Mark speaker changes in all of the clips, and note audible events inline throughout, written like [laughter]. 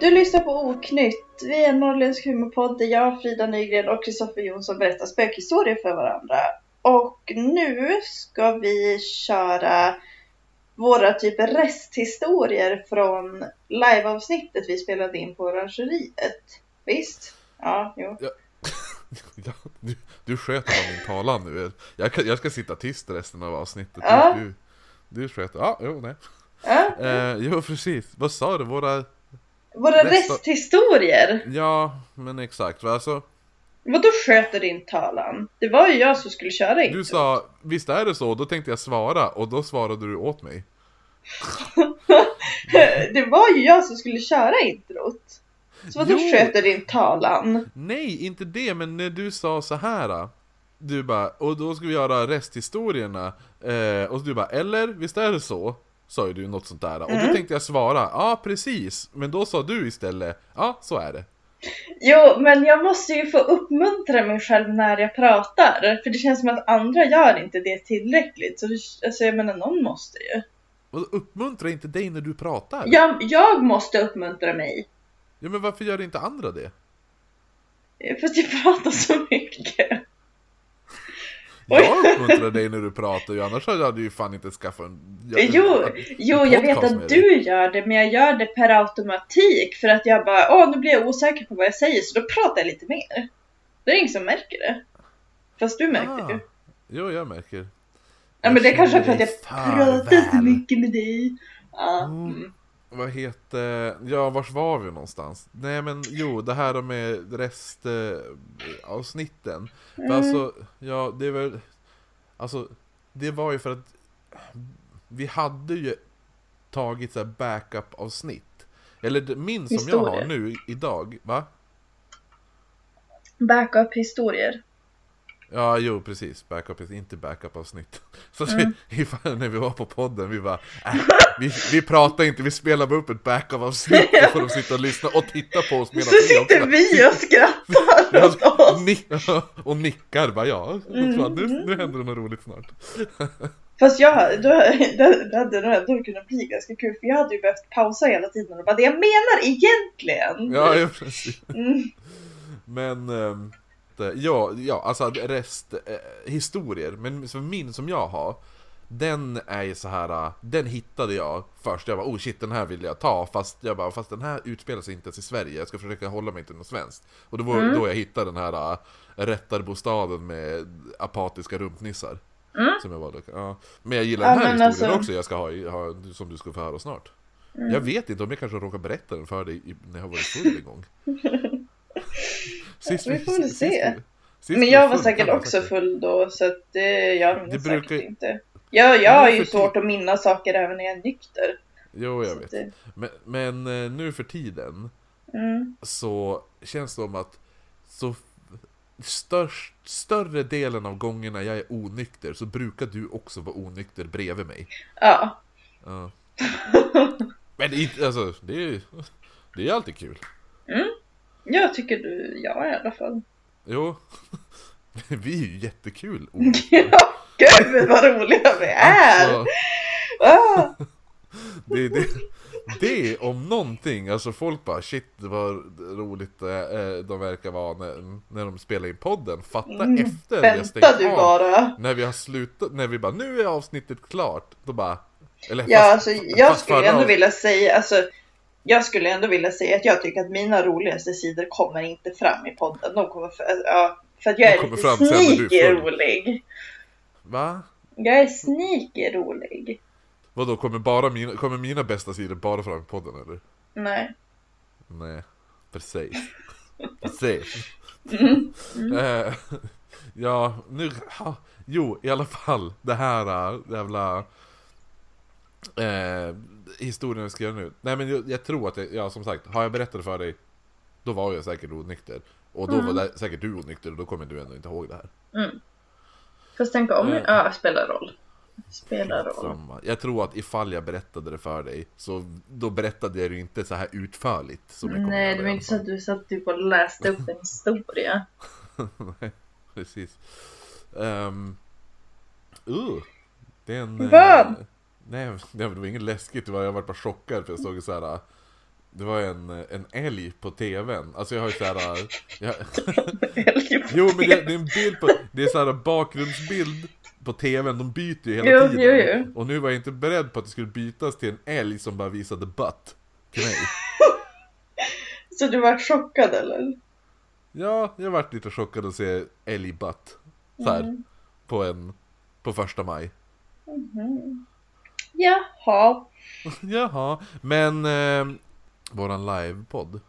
Speaker 1: Du lyssnar på Oknytt. Vi är en norrländsk humorpodd där jag, Frida Nygren och Kristoffer Jonsson berättar spökhistorier för varandra. Och nu ska vi köra våra typ resthistorier från liveavsnittet vi spelade in på Orangeriet. Visst? Ja, jo.
Speaker 2: Ja, [laughs] du, du sköt på min talan nu. Jag, kan, jag ska sitta tyst resten av avsnittet.
Speaker 1: Ja.
Speaker 2: Du, du, du sköt. Ja, jo, nej.
Speaker 1: Ja.
Speaker 2: Eh, jo, precis. Vad sa du? Våra...
Speaker 1: Våra
Speaker 2: Nästa-
Speaker 1: resthistorier?
Speaker 2: Ja, men exakt. Va, Alltså,
Speaker 1: Vadå sköter din talan? Det var ju jag som skulle köra in.
Speaker 2: du sa visst är det så? Då tänkte jag svara och då svarade du åt mig.
Speaker 1: [laughs] Det var ju jag som skulle köra introt. Så vadå
Speaker 2: Jo.
Speaker 1: sköter din talan?
Speaker 2: Nej, inte det, men när du sa så här. ah." Du bara, och då ska vi göra resthistorierna. Eh, och du bara, eller visst är det så? Sa ju du något sånt där. Och då
Speaker 1: Mm.
Speaker 2: tänkte jag svara, ja precis. Men då sa du istället, ja så är det.
Speaker 1: Jo, men jag måste ju få uppmuntra mig själv när jag pratar. För det känns som att andra gör inte det tillräckligt. Så det, alltså jag menar, någon måste ju.
Speaker 2: Och uppmuntra inte dig när du pratar.
Speaker 1: Jag, jag måste uppmuntra mig.
Speaker 2: Ja, men varför gör inte andra det?
Speaker 1: För att jag pratar så mycket. Oj.
Speaker 2: Jag uppmuntrar dig när du pratar ju, annars hade du ju fan inte skaffat en... jag-
Speaker 1: Jo, jo jag vet
Speaker 2: podcast med
Speaker 1: att du gör det, men jag gör det per automatik. För att jag bara, åh nu blir jag osäker på vad jag säger, så då pratar jag lite mer. Då är det ingen som märker det. Fast du märkte
Speaker 2: Ah.
Speaker 1: ju.
Speaker 2: Jo, jag märker.
Speaker 1: Ja men det är kanske är för att
Speaker 2: känner
Speaker 1: jag
Speaker 2: dig för
Speaker 1: pratar så
Speaker 2: väl.
Speaker 1: mycket med dig. Ja.
Speaker 2: Mm.
Speaker 1: Mm.
Speaker 2: Vad heter... Ja, vars var vi någonstans? Nej men jo, det här med restavsnitten. För Alltså, ja det är väl... Alltså, det var ju för att vi hade ju tagit så här backup-avsnitt. Eller det- min som jag har
Speaker 1: Historier.
Speaker 2: nu idag, va?
Speaker 1: Backup-historier.
Speaker 2: Ja, jo precis. Backup, inte backup-avsnitt. [laughs] Så att
Speaker 1: Mm.
Speaker 2: vi, ifall, när vi var på podden, vi bara äh, vi, vi pratar inte, vi spelar bara upp ett backup-avsnitt så får de sitta och lyssna och titta på oss medan
Speaker 1: Så sitter
Speaker 2: också-
Speaker 1: vi och skrattar åt
Speaker 2: Ja,
Speaker 1: oss. [laughs]
Speaker 2: nick, och nickar bara ja, jag tror att nu,
Speaker 1: Mm.
Speaker 2: nu händer det något roligt snart.
Speaker 1: Fast jag, då, det, det hade nog ändå kunnat bli ganska kul för jag hade ju behövt pausa hela tiden och bara det jag menar egentligen.
Speaker 2: Ja, ja precis.
Speaker 1: Mm.
Speaker 2: Men, ehm, det- ja, ja alltså resthistorier. Men så min som jag har, den är ju så här, eh, den hittade jag först. Jag bara oh shit den här vill jag ta, fast jag bara fast den här utspelar sig inte ens i Sverige. Jag ska försöka hålla mig till något svenskt. Och det var
Speaker 1: Mm.
Speaker 2: då jag hittade den här eh, rättarbostaden med apatiska rumpnissar.
Speaker 1: Mm.
Speaker 2: Som jag bara, ja. Men jag gillar
Speaker 1: Ja,
Speaker 2: den här
Speaker 1: men
Speaker 2: historien
Speaker 1: alltså-
Speaker 2: också, jag ska ha, i- ha, som du ska få höra snart.
Speaker 1: Mm.
Speaker 2: Jag vet inte om jag kanske råkar berätta den för dig i- när jag har varit full en gång.
Speaker 1: [laughs]
Speaker 2: Sist
Speaker 1: Vi får väl
Speaker 2: sist
Speaker 1: se.
Speaker 2: vi- sist
Speaker 1: Men
Speaker 2: vi
Speaker 1: jag var
Speaker 2: full,
Speaker 1: säkert
Speaker 2: kan jag
Speaker 1: också
Speaker 2: säkert.
Speaker 1: full då så att det jag
Speaker 2: Det
Speaker 1: minns
Speaker 2: brukar-
Speaker 1: säkert inte. Jag, jag
Speaker 2: Men
Speaker 1: har
Speaker 2: nu
Speaker 1: ju
Speaker 2: för
Speaker 1: svårt att minnas saker även när jag är nykter.
Speaker 2: Jo, jag
Speaker 1: Så
Speaker 2: vet.
Speaker 1: det-
Speaker 2: Men, men eh, nu för tiden
Speaker 1: Mm.
Speaker 2: så känns det som att så f- störst, större delen av gångerna jag är onykter så brukar du också vara onykter bredvid mig.
Speaker 1: Ja. [laughs]
Speaker 2: Ja. Men det är inte, alltså, det är ju det är alltid kul.
Speaker 1: Jag tycker du, ja i alla fall. [laughs]
Speaker 2: Jo, [laughs] vi är ju jättekul.
Speaker 1: Ja, gud vad roliga vi är!
Speaker 2: Alltså,
Speaker 1: Ah,
Speaker 2: det, det, det om någonting, alltså folk bara shit vad roligt eh, de verkar vara när, när de spelar in podden. Fatta
Speaker 1: Mm,
Speaker 2: efter vi har
Speaker 1: vänta
Speaker 2: stängt
Speaker 1: du
Speaker 2: av.
Speaker 1: bara!
Speaker 2: När vi har slutat, när vi bara nu är avsnittet klart. Då bara, eller
Speaker 1: Ja,
Speaker 2: fast-
Speaker 1: alltså, jag
Speaker 2: fast
Speaker 1: skulle
Speaker 2: förra
Speaker 1: ändå
Speaker 2: av-
Speaker 1: vilja säga, alltså, jag skulle ändå vilja säga att jag tycker att mina roligaste sidor kommer inte fram i podden. De kommer för, ja, för att jag
Speaker 2: De
Speaker 1: är
Speaker 2: kommer
Speaker 1: lite
Speaker 2: fram sen när du är
Speaker 1: sneaky
Speaker 2: full.
Speaker 1: rolig.
Speaker 2: Va?
Speaker 1: Jag är sneaky rolig.
Speaker 2: Vadå, kommer, bara mina, kommer mina bästa sidor bara fram i podden eller?
Speaker 1: Nej.
Speaker 2: Nej, precis. precis.
Speaker 1: Mm.
Speaker 2: Eh, ja, nu... Ha, jo, i alla fall. Det här eh, jävla... Eh, historien jag ska göra nu. Nej men jag, jag tror att jag, ja, som sagt, har jag berättat för dig då var jag säkert onykter. Och då
Speaker 1: Mm.
Speaker 2: var det, säkert du onykter och då kommer du ändå inte ihåg det här.
Speaker 1: Fast tänk om,
Speaker 2: Eh.
Speaker 1: ja spelar roll. Spelar roll.
Speaker 2: Samma. eh, Jag tror att ifall jag berättade det för dig så då berättade jag det ju inte så här utförligt. Som jag kommer göra
Speaker 1: Nej, det
Speaker 2: i
Speaker 1: var
Speaker 2: alla
Speaker 1: inte så
Speaker 2: fall.
Speaker 1: att du satt typ och läste upp en [laughs] historia.
Speaker 2: Nej, [laughs] precis. Um, uh, det är en...
Speaker 1: Vad?
Speaker 2: [laughs] eh, Nej, det var det var inget läskigt. Det var, jag var bara chockad för jag såg så här... Det var en, en älg på tvn. Alltså jag har ju såhär... Jag, [laughs]
Speaker 1: Älg på
Speaker 2: jo men det,
Speaker 1: tv.
Speaker 2: det är en bild på... Det är såhär bakgrundsbild på tvn. De byter ju hela
Speaker 1: Jo,
Speaker 2: tiden.
Speaker 1: jo, jo.
Speaker 2: Och nu var jag inte beredd på att det skulle bytas till en älg som bara visade butt till mig.
Speaker 1: Så du var chockad eller?
Speaker 2: Ja, jag vart lite chockad att se älgbutt. Såhär.
Speaker 1: Mm.
Speaker 2: På en... På första maj.
Speaker 1: Mhm. Jaha.
Speaker 2: Jaha, men eh, våran livepodd.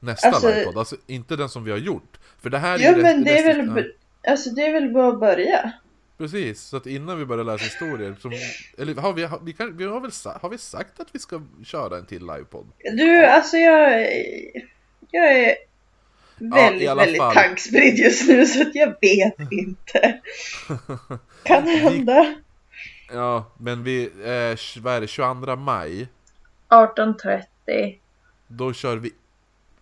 Speaker 2: Nästa
Speaker 1: Alltså-
Speaker 2: livepodd, alltså inte den som vi har gjort. För det här
Speaker 1: Ja
Speaker 2: ju
Speaker 1: men det är
Speaker 2: ja,
Speaker 1: väl, b- alltså det är väl bara att börja.
Speaker 2: Precis, så att innan vi börjar läsa historier. Som, eller har vi, har, vi, kan, vi har väl sa, har vi sagt att vi ska köra en till livepodd?
Speaker 1: Du, alltså jag, är- jag är väldigt,
Speaker 2: alla
Speaker 1: väldigt
Speaker 2: fall.
Speaker 1: tankspridd just nu så att jag
Speaker 2: [laughs]
Speaker 1: vet inte. kan hända.
Speaker 2: Ja, men vi, eh, tj- vad är det, 22 maj.
Speaker 1: 18.30.
Speaker 2: Då kör vi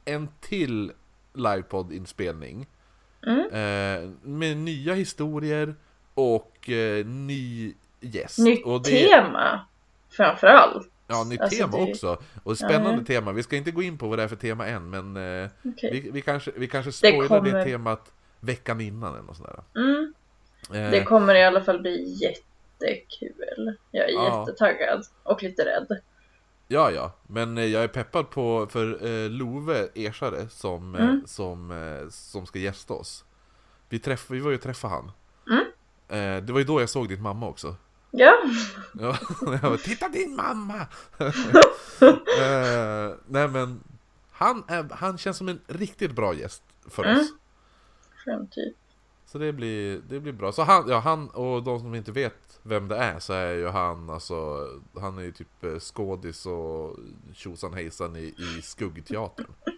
Speaker 2: en till livepoddinspelning.
Speaker 1: Mm.
Speaker 2: Eh, med nya historier och eh, ny gäst.
Speaker 1: Nytt
Speaker 2: och det-
Speaker 1: tema framförallt.
Speaker 2: Ja, nytt
Speaker 1: Alltså,
Speaker 2: tema
Speaker 1: det-
Speaker 2: också. Och spännande
Speaker 1: Ja.
Speaker 2: tema. Vi ska inte gå in på vad det är för tema än, men eh,
Speaker 1: Okej.
Speaker 2: vi, vi kanske, vi kanske spoilar det,
Speaker 1: kommer-
Speaker 2: temat veckan innan eller något sånt där.
Speaker 1: Mm,
Speaker 2: Eh,
Speaker 1: det kommer i alla fall bli jättekul. Jag är
Speaker 2: Ja.
Speaker 1: jättetaggad och lite rädd.
Speaker 2: Ja, ja, men eh, jag är peppad på för eh, Love Ersare som, eh,
Speaker 1: Mm.
Speaker 2: som, eh, som ska gästa oss. Vi, träff, vi var ju och träffade han.
Speaker 1: Mm.
Speaker 2: Eh, det var ju då jag såg din mamma också.
Speaker 1: Ja,
Speaker 2: Ja, [laughs] jag bara, titta din mamma!
Speaker 1: [laughs]
Speaker 2: eh, nej men, han, är, han känns som en riktigt bra gäst för
Speaker 1: Mm.
Speaker 2: oss.
Speaker 1: framtid.
Speaker 2: Så det blir, det blir bra. Så han, ja, han och de som inte vet vem det är så är ju han alltså, han är ju typ eh, skådis och tjosan hejsan i, i skuggteatern. vet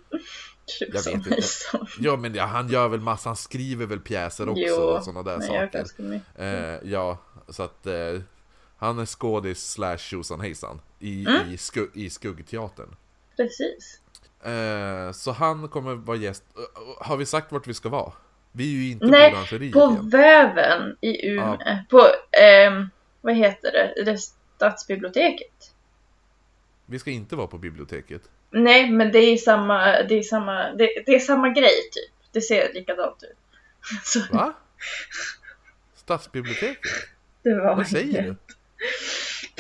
Speaker 1: Tjusan
Speaker 2: inte.
Speaker 1: hejsan.
Speaker 2: Ja men ja, han gör väl massa, han skriver väl pjäser också
Speaker 1: Jo,
Speaker 2: och sådana där
Speaker 1: Men jag har
Speaker 2: saker.
Speaker 1: ganska mycket.
Speaker 2: Eh, ja, så att eh, han är skådis slash tjosan hejsan i,
Speaker 1: Mm.
Speaker 2: i, sku, i skuggteatern.
Speaker 1: Precis.
Speaker 2: Eh, så han kommer vara gäst. Eh, Har vi sagt vart vi ska vara? Vi är ju inte
Speaker 1: Nej,
Speaker 2: på orangeriet
Speaker 1: På
Speaker 2: än.
Speaker 1: Väven i Umeå. På, ehm, vad heter det? det är stadsbiblioteket.
Speaker 2: Vi ska inte vara på biblioteket.
Speaker 1: Nej, men det är samma, det är samma, det, det är samma grej typ. Det ser likadant ut. [laughs] Så
Speaker 2: Va? Stadsbiblioteket?
Speaker 1: det var
Speaker 2: Vad säger
Speaker 1: inget.
Speaker 2: du?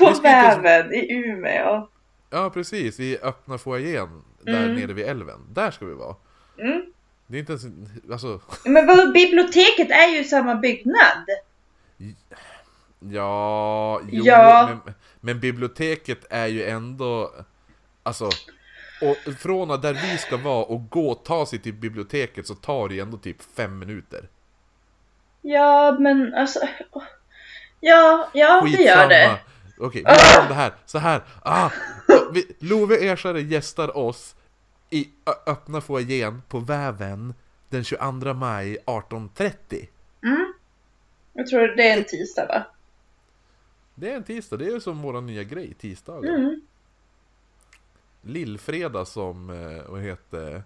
Speaker 1: På
Speaker 2: Vi ska inte ens-
Speaker 1: Väven i Umeå.
Speaker 2: Ja, precis. I öppna foajén där
Speaker 1: Mm.
Speaker 2: nere vid älven. Där ska vi vara.
Speaker 1: Mm.
Speaker 2: Det är inte ens... Alltså,
Speaker 1: Men vadå, biblioteket är ju samma byggnad.
Speaker 2: ja... Jo,
Speaker 1: Ja.
Speaker 2: Men, men biblioteket är ju ändå... Alltså... Och från där vi ska vara och gå och ta sig till biblioteket så tar det ju ändå typ fem minuter.
Speaker 1: Ja, men alltså. Ja, ja det
Speaker 2: Skitsamma.
Speaker 1: gör det.
Speaker 2: Okej,
Speaker 1: Ah!
Speaker 2: vi gör om det här. Så här.
Speaker 1: [laughs]
Speaker 2: Ah! Vi, Love Ersare gästar oss i ö- öppna foajén på Väven den 22 maj 18.30.
Speaker 1: Mm. Jag tror det är en tisdag va? [laughs]
Speaker 2: Det är en tisdag, det är ju som vår nya grej, tisdagar.
Speaker 1: Mm.
Speaker 2: Lillfredag som, eh, vad heter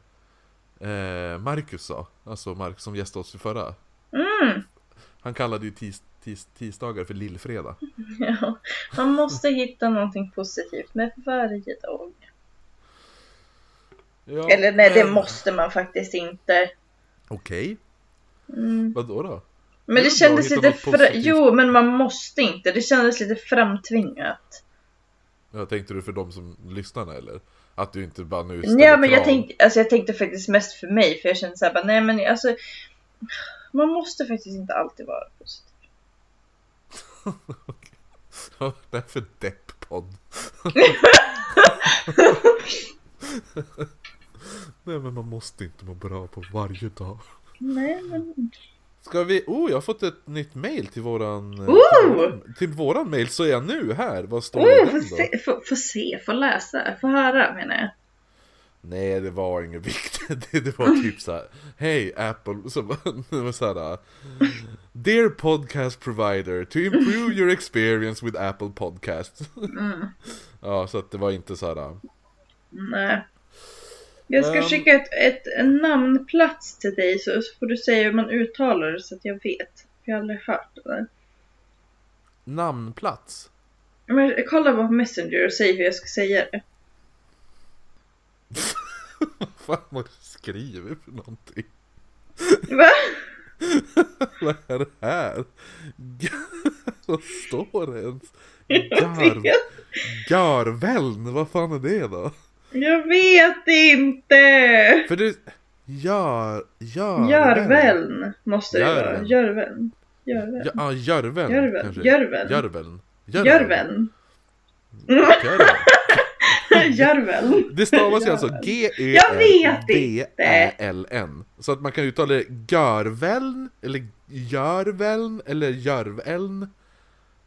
Speaker 2: eh, Marcus sa. Alltså Marcus som gästade oss i förra.
Speaker 1: Mm.
Speaker 2: Han kallade ju tis, tis, tisdagar för lillfredag.
Speaker 1: Ja, man måste hitta någonting positivt med varje dag.
Speaker 2: Ja,
Speaker 1: Eller nej, det
Speaker 2: men-
Speaker 1: måste man faktiskt inte.
Speaker 2: Okej,
Speaker 1: Mm.
Speaker 2: vadå då?
Speaker 1: Men det
Speaker 2: bra
Speaker 1: kändes
Speaker 2: att hitta
Speaker 1: lite...
Speaker 2: något
Speaker 1: Fra...
Speaker 2: positivt.
Speaker 1: Jo, men man måste inte. Det kändes lite framtvingat.
Speaker 2: Ja, tänkte du för de som lyssnar eller? Att du inte bara nu
Speaker 1: Nej, men jag,
Speaker 2: krav? [laughs]
Speaker 1: tänk... alltså, jag tänkte faktiskt mest för mig, för jag kände såhär, bara, nej men alltså... Man måste faktiskt inte alltid vara positiv.
Speaker 2: Vad är det här för
Speaker 1: [laughs]
Speaker 2: depp-podd? Nej men man måste inte må bra på varje dag.
Speaker 1: Nej, men...
Speaker 2: Ska vi... Oh, jag har fått ett nytt mail till våran... eh, Till
Speaker 1: Ooh!
Speaker 2: våran, till våran mail så är jag nu här. Vad står det i
Speaker 1: Oh,
Speaker 2: den
Speaker 1: få,
Speaker 2: då?
Speaker 1: se, få, få se, få läsa, få höra menar jag.
Speaker 2: Nej, det var inget viktigt. [laughs] Det, det var typ så här. Hej Apple. Så, var- [laughs] det var så här. Dear podcast provider, to improve your experience with Apple podcasts.
Speaker 1: Mm.
Speaker 2: [laughs] Ja, så att det var inte så här.
Speaker 1: Nej. Jag ska
Speaker 2: Ehm.
Speaker 1: skicka ett, ett en namnplats till dig så, så får du säga hur man uttalar det så att jag vet. För jag har aldrig hört det där.
Speaker 2: Namnplats.
Speaker 1: [laughs] Men kolla på Messenger och säg hur jag ska säga det.
Speaker 2: [laughs] Vad fan har du skrivit för någonting? [laughs]
Speaker 1: Va?
Speaker 2: Vad är det här? [laughs] Gar- Vad står det ens?
Speaker 1: Jag
Speaker 2: Gar...
Speaker 1: vet,
Speaker 2: Garväln, vad fan är det då?
Speaker 1: [laughs] jag vet inte!
Speaker 2: För du... Gör... Gör...
Speaker 1: Jörveln måste det vara.
Speaker 2: Jörveln.
Speaker 1: Jörveln. Jörveln.
Speaker 2: Ja, ah, Jörveln
Speaker 1: Jörveln.
Speaker 2: kanske.
Speaker 1: Jörveln.
Speaker 2: Jörveln.
Speaker 1: Jörveln.
Speaker 2: Jörveln.
Speaker 1: Jörveln. [laughs]
Speaker 2: Det stavas ju alltså
Speaker 1: Jörveln. Jag vet
Speaker 2: G-E-R-V-E-L-N. Så att man kan uttala det Görväln, eller Görväln, eller Jörväln.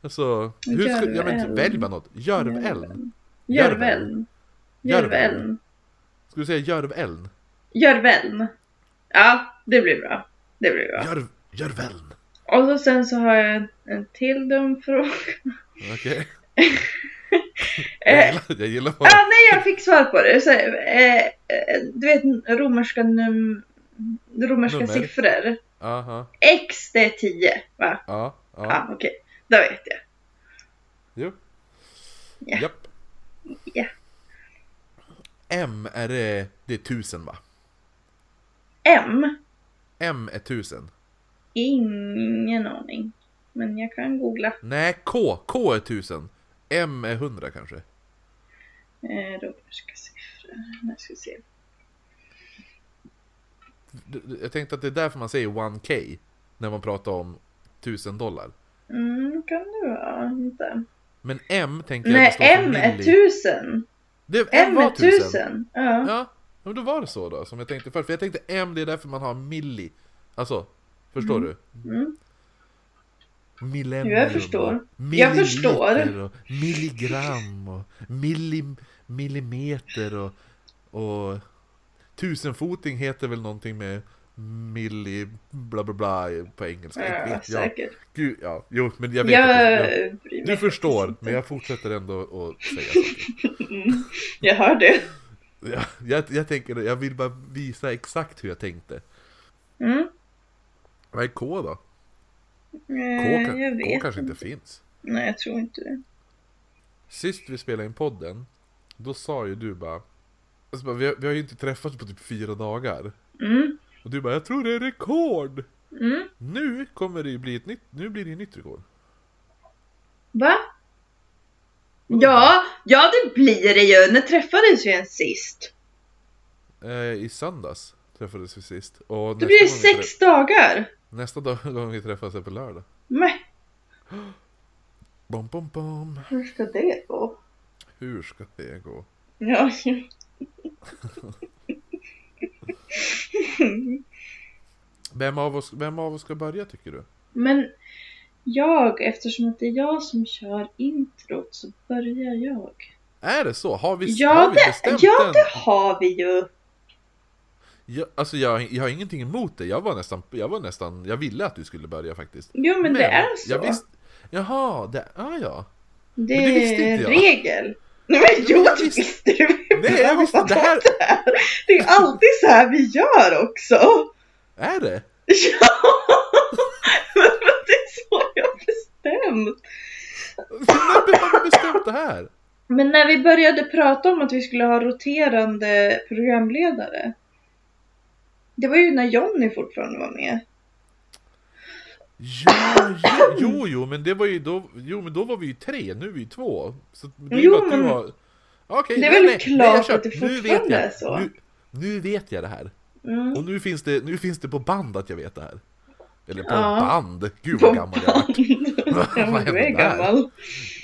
Speaker 2: Alltså, hur skulle, ja men
Speaker 1: Jörväln.
Speaker 2: välj bara något. Jörväln.
Speaker 1: Jörveln. Jörveln.
Speaker 2: Ska du säga Jörväln?
Speaker 1: Jörveln. Ja, det blir bra. Det blir bra.
Speaker 2: Jörv, Jörväln.
Speaker 1: Och så sen så har jag en, en till dum fråga.
Speaker 2: Okej. Jag
Speaker 1: Eh,
Speaker 2: gillar- Jag gillar bara...
Speaker 1: ah, nej, jag fick svar på det. Så, eh, eh, du vet romerska, num, romerska
Speaker 2: Nummer.
Speaker 1: siffror.
Speaker 2: Aha,
Speaker 1: X det är 10 va?
Speaker 2: ja, ja,
Speaker 1: Ja, ah, okej. Då vet jag.
Speaker 2: jo.
Speaker 1: Ja.
Speaker 2: Japp.
Speaker 1: Ja.
Speaker 2: M är det, det är tusen va?
Speaker 1: M?
Speaker 2: M är tusen.
Speaker 1: Ingen aning. Men jag kan googla.
Speaker 2: Nej, K. K är 1000. M är 100 kanske.
Speaker 1: Eh, romerska siffror. Nu ska vi se.
Speaker 2: D- d- Jag tänkte att det är därför man säger 1K när man pratar om 1000 dollar.
Speaker 1: Mm, kan det vara. Inte.
Speaker 2: Men M tänker jag
Speaker 1: Nej,
Speaker 2: att det står för
Speaker 1: M är
Speaker 2: milli.
Speaker 1: 1000.
Speaker 2: Det, M,
Speaker 1: M är
Speaker 2: var 1000.
Speaker 1: 1000. Ja.
Speaker 2: Ja, men då var det så då som jag tänkte först. För jag tänkte M, det är därför man har milli. Alltså, förstår du?
Speaker 1: Mm.
Speaker 2: Millennium.
Speaker 1: Jag förstår.
Speaker 2: och milliliter
Speaker 1: förstår.
Speaker 2: Och milligram och milli, millimeter och, och tusenfoting heter väl någonting med milli bla bla bla på engelska.
Speaker 1: Ja,
Speaker 2: Inte vet jag.
Speaker 1: säkert.
Speaker 2: Gud, ja. Jo, men jag vet att
Speaker 1: Jag,
Speaker 2: du,
Speaker 1: bryr
Speaker 2: du
Speaker 1: mig
Speaker 2: förstår,
Speaker 1: faktiskt
Speaker 2: men
Speaker 1: inte.
Speaker 2: jag fortsätter ändå att säga saker.
Speaker 1: Mm, jag hör det.
Speaker 2: Jag, jag, jag, tänker, jag vill bara visa exakt hur jag tänkte.
Speaker 1: Mm.
Speaker 2: Vad är K då? K,
Speaker 1: Eh,
Speaker 2: kan-
Speaker 1: jag
Speaker 2: K
Speaker 1: vet
Speaker 2: kanske
Speaker 1: inte.
Speaker 2: inte finns.
Speaker 1: Nej, jag tror inte det.
Speaker 2: Sist vi spelade in podden, då sa ju du bara... Alltså bara vi, har, vi har ju inte träffats på typ fyra dagar.
Speaker 1: Mm.
Speaker 2: Och du bara, jag tror det är rekord!
Speaker 1: Mm.
Speaker 2: Nu kommer det ju bli ett nytt, nu blir det ju nytt rekord.
Speaker 1: Va? Ja, ja det blir det ju. När träffades vi ens sist?
Speaker 2: Eh, I söndags träffades vi sist. Och
Speaker 1: Det blir ju
Speaker 2: gång vi trä-
Speaker 1: sex dagar.
Speaker 2: nästa dag, [laughs] gång vi träffas är på lördag.
Speaker 1: Men
Speaker 2: Bom, bom, bom.
Speaker 1: hur ska det gå?
Speaker 2: Hur ska det gå?
Speaker 1: Ja.
Speaker 2: [laughs] Vem av oss, vem av oss ska börja tycker du?
Speaker 1: Men jag, eftersom att det är jag som kör introt så börjar jag.
Speaker 2: Är det så? Har vi, har
Speaker 1: Ja,
Speaker 2: vi
Speaker 1: det,
Speaker 2: bestämt
Speaker 1: ja
Speaker 2: den?
Speaker 1: det har vi ju.
Speaker 2: Jag, alltså jag, jag har ingenting emot det, jag var nästan, jag var nästan, jag ville att du skulle börja faktiskt.
Speaker 1: Jo men, det är så.
Speaker 2: Jag visst, jaha, det, ah,
Speaker 1: [laughs]
Speaker 2: ja.
Speaker 1: Det
Speaker 2: Men det visste
Speaker 1: är
Speaker 2: inte
Speaker 1: en
Speaker 2: jag.
Speaker 1: regel. Nej men jo,
Speaker 2: jag
Speaker 1: det
Speaker 2: visste-
Speaker 1: visste du.
Speaker 2: Nej, jag visste det här,
Speaker 1: Det är alltid så här vi gör också. [laughs]
Speaker 2: är det?
Speaker 1: Ja, men det är så jag har bestämt.
Speaker 2: När har vi bestämt det här?
Speaker 1: Men när vi började prata om att vi skulle ha roterande programledare. Det var ju när Jonny fortfarande var med.
Speaker 2: Jo, jo, jo, jo, men det var ju då, jo men då var vi ju tre, nu är vi ju två. Så det är
Speaker 1: Jo,
Speaker 2: bara att du
Speaker 1: men-
Speaker 2: har... Okej,
Speaker 1: Det är
Speaker 2: nej,
Speaker 1: väl
Speaker 2: nej, nej,
Speaker 1: klart
Speaker 2: jag kör.
Speaker 1: att det
Speaker 2: Nu vet
Speaker 1: fortfarande
Speaker 2: jag.
Speaker 1: är så.
Speaker 2: Nu, nu vet jag det här.
Speaker 1: Mm.
Speaker 2: Och nu finns det, nu finns det på band att jag vet det här. Eller på
Speaker 1: Ja.
Speaker 2: band, gud
Speaker 1: På
Speaker 2: vad gammal jag är.
Speaker 1: band. [laughs] ja, men du är
Speaker 2: Vad hände där?
Speaker 1: gammal.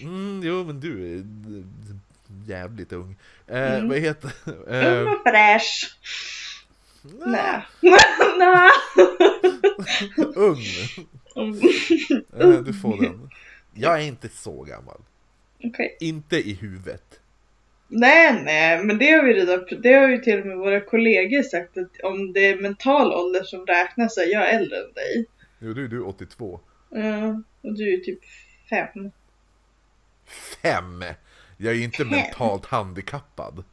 Speaker 2: Mm, jo men du är d- d- jävligt ung. Eh,
Speaker 1: Mm.
Speaker 2: Vad heter...
Speaker 1: Ung
Speaker 2: Eh,
Speaker 1: och fräsch.
Speaker 2: nej,
Speaker 1: Nej. [laughs] Nej.
Speaker 2: ung!
Speaker 1: Okej.
Speaker 2: Eh, du får den. Jag är inte så gammal. Inte i huvudet.
Speaker 1: Nej, nej, men det har, vi redan, det har ju till och med våra kollegor sagt att om det är mental ålder som räknas så är jag äldre än dig.
Speaker 2: Jo, du, du är 82.
Speaker 1: Ja, och du är typ fem.
Speaker 2: Fem! Jag är ju inte
Speaker 1: Fem.
Speaker 2: mentalt handikappad.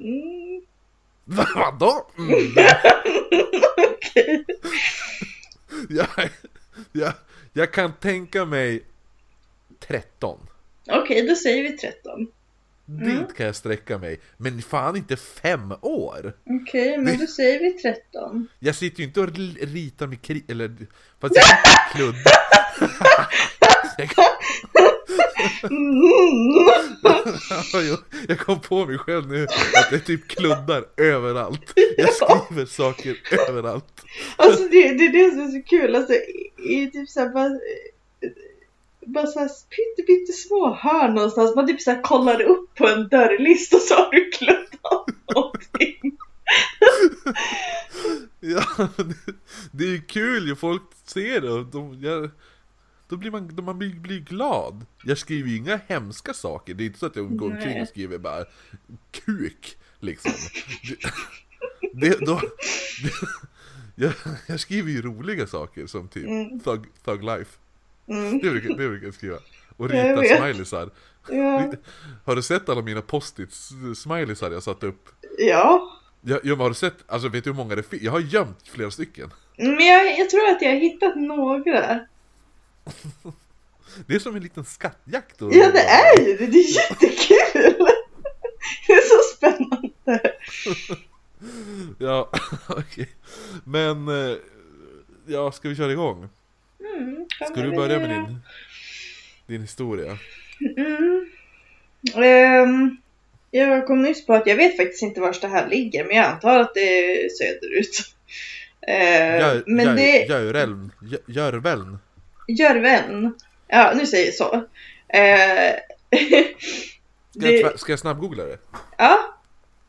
Speaker 1: Mm,
Speaker 2: Vadå? Mm.
Speaker 1: [laughs] Okej. [laughs]
Speaker 2: Jag, jag, jag kan tänka mig 13.
Speaker 1: Okej, då säger vi 13.
Speaker 2: Dit kan jag sträcka mig. Men fan inte fem år!
Speaker 1: Okej, men då säger vi 13.
Speaker 2: Jag sitter ju inte och l- ritar med kri... Eller... Fast jag kan kludda. jag, kan- jo, jag kom på mig själv nu att jag typ kluddar överallt. Jag skriver saker överallt.
Speaker 1: [laughs] Alltså det, det är det som är så kul. Alltså i, i typ såhär bara, eh, bara såhär pyttesmå hörn någonstans. Man typ såhär kollar upp på en dörrlist och så har du klubbat någonting.
Speaker 2: Ja, [laughs] det- det är ju kul ju, folk ser det och de, jag, då blir man, då man blir, blir glad. Jag skriver ju inga hemska saker, det är inte så att jag går omkring
Speaker 1: Nej.
Speaker 2: och skriver bara kuk liksom. Det, [laughs] det, då, [laughs] det, jag, jag skriver ju roliga saker som typ
Speaker 1: Mm.
Speaker 2: thug, thug life,
Speaker 1: Mm,
Speaker 2: det brukar, det brukar jag skriva. Och
Speaker 1: Jag
Speaker 2: rita
Speaker 1: vet.
Speaker 2: smileysar.
Speaker 1: ja.
Speaker 2: Har du sett alla mina post-it-smileysar jag satt upp?
Speaker 1: ja.
Speaker 2: Jag, jag, har du sett, alltså vet du hur många det finns? Jag har gömt flera stycken.
Speaker 1: Men jag, jag tror att jag har hittat några.
Speaker 2: Det är som en liten skattjakt. Och
Speaker 1: Ja det är ju det, det är jättekul! [laughs] Det är så spännande.
Speaker 2: Ja, [laughs] okej. Men, eh, ja, ska vi köra igång?
Speaker 1: Mm, kan
Speaker 2: Ska
Speaker 1: man
Speaker 2: du
Speaker 1: väl
Speaker 2: börja med
Speaker 1: göra.
Speaker 2: din, din historia?
Speaker 1: Mm. Ehm, jag kom nyss på att jag vet faktiskt inte var det här ligger, men jag antar att det är söderut. Ehm,
Speaker 2: Gör-
Speaker 1: men
Speaker 2: gör-
Speaker 1: det...
Speaker 2: Görälm, Gö- Görväln.
Speaker 1: Jörven. Ja, nu säger jag så. Ehm, [laughs]
Speaker 2: Ska,
Speaker 1: det,
Speaker 2: jag tvär- ska jag snabbgoogla det?
Speaker 1: ja,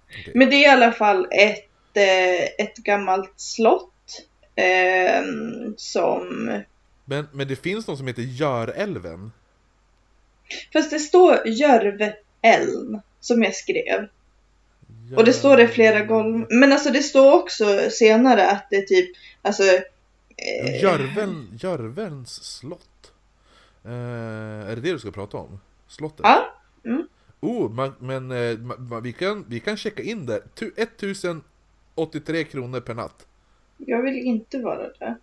Speaker 2: Okej.
Speaker 1: men det är i alla fall ett, eh, ett gammalt slott. ehm, som...
Speaker 2: Men, men det finns någon som heter Görälven.
Speaker 1: Fast det står Jörveälm, som jag skrev. Och det står det flera gånger. Men alltså det står också senare att det är typ, alltså... eh,
Speaker 2: Görven, Görvens slott. Eh, är det det du ska prata om? Slottet?
Speaker 1: Ja. Mm.
Speaker 2: Oh, man, men eh, ma- ma- vi, kan, vi kan checka in där. Tu- 1083 kronor per natt.
Speaker 1: Jag vill inte vara där.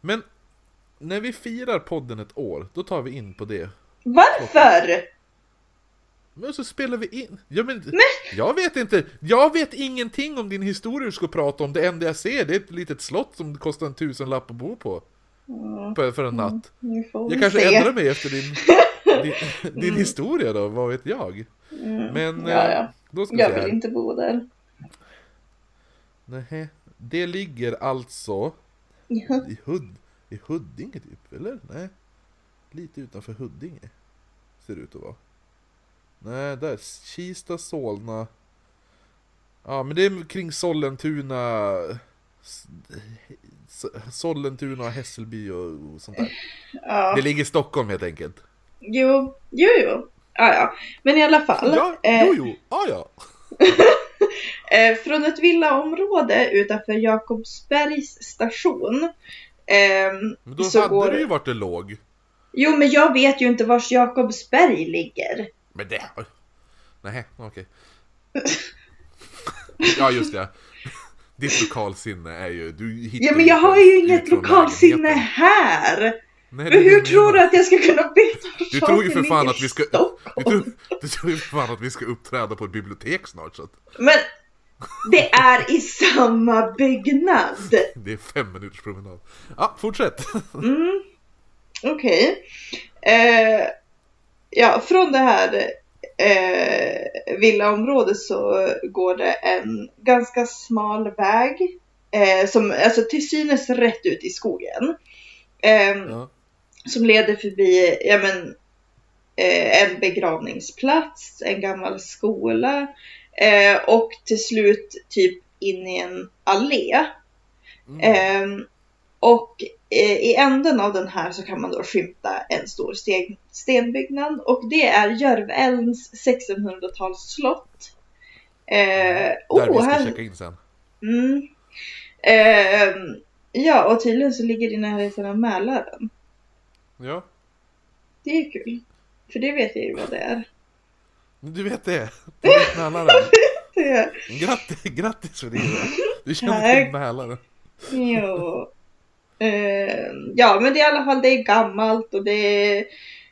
Speaker 2: Men när vi firar podden ett år, då tar vi in på det.
Speaker 1: Varför?
Speaker 2: Men så spelar vi in. Ja, men, jag vet inte. Jag vet ingenting om din historia du ska prata om. Det enda jag ser det är ett litet slott som kostar en tusenlapp att bo på.
Speaker 1: Mm,
Speaker 2: För, för en natt.
Speaker 1: nu får
Speaker 2: Jag
Speaker 1: vi
Speaker 2: kanske
Speaker 1: se.
Speaker 2: ändrar mig efter
Speaker 1: [laughs]
Speaker 2: din, din, din historia då, vad vet jag?
Speaker 1: Mm,
Speaker 2: Men
Speaker 1: ja,
Speaker 2: eh,
Speaker 1: ja.
Speaker 2: då ska vi
Speaker 1: Jag
Speaker 2: se
Speaker 1: vill
Speaker 2: här.
Speaker 1: inte bo där. [laughs]
Speaker 2: Nähä. Det ligger alltså
Speaker 1: Ja.
Speaker 2: i, Hud, i Huddinge typ, eller? Nej. Lite utanför Huddinge. Ser det ut att vara. Nej, där. Kista, Solna. Ja, men det är kring Sollentuna. S- S- Sollentuna och Hässelby och och sånt där.
Speaker 1: Ja.
Speaker 2: Det ligger i Stockholm helt enkelt.
Speaker 1: Jo, jo, jo. Ja, ja. Men i alla fall.
Speaker 2: Ja,
Speaker 1: eh,
Speaker 2: jo, jo, ja, ja.
Speaker 1: Eh, från ett villaområde utanför Jakobsbergs station. ehm,
Speaker 2: Men då
Speaker 1: så
Speaker 2: hade
Speaker 1: går...
Speaker 2: det ju varit det låg.
Speaker 1: Jo, men jag vet ju inte vars Jakobsberg ligger.
Speaker 2: Men det... Nej,
Speaker 1: [laughs]
Speaker 2: okej. ja, just det. Ditt lokalsinne är ju... Du hittar
Speaker 1: Ja men jag
Speaker 2: inte
Speaker 1: har ju
Speaker 2: ens
Speaker 1: inget
Speaker 2: ut från
Speaker 1: lokalsinne
Speaker 2: lägenheten.
Speaker 1: här!
Speaker 2: Nej, det är
Speaker 1: Men
Speaker 2: det
Speaker 1: hur
Speaker 2: jag
Speaker 1: tror du
Speaker 2: menar.
Speaker 1: att jag ska kunna byta
Speaker 2: Du tror ju för
Speaker 1: saker
Speaker 2: fan
Speaker 1: i
Speaker 2: att vi ska... Du
Speaker 1: Stockholm?
Speaker 2: tror, du tror ju för fan att vi ska uppträda på ett bibliotek snart så att
Speaker 1: Men det är i samma byggnad!
Speaker 2: det är fem minuters promenad. Ja, fortsätt!
Speaker 1: Mm. Okej. Eh, ja, från det här eh, villaområdet så går det en ganska smal väg. Eh, som alltså till synes rätt ut i skogen. Ehm,
Speaker 2: Ja.
Speaker 1: som leder förbi ja, men, eh, en begravningsplats, en gammal skola eh, och till slut typ in i en allé.
Speaker 2: Mm.
Speaker 1: Ehm, och eh, i änden av den här så kan man då skymta en stor sten, stenbyggnad och det är Jörvälns 1600-tals slott. Eh,
Speaker 2: Där vi
Speaker 1: oh,
Speaker 2: ska
Speaker 1: här,
Speaker 2: checka in sen.
Speaker 1: mm, Ehm, ja, och tydligen så ligger det i närheten av Mälaren.
Speaker 2: Ja,
Speaker 1: Det är kul. För det vet jag ju vad det är.
Speaker 2: men du vet det.
Speaker 1: [laughs]
Speaker 2: Du vet Mälaren.
Speaker 1: Det är... [laughs]
Speaker 2: Grattis, grattis för det. Du känner
Speaker 1: Tack.
Speaker 2: till Mälaren.
Speaker 1: Ehm, Jo. Eh, ja, men det är i alla fall det är gammalt och det är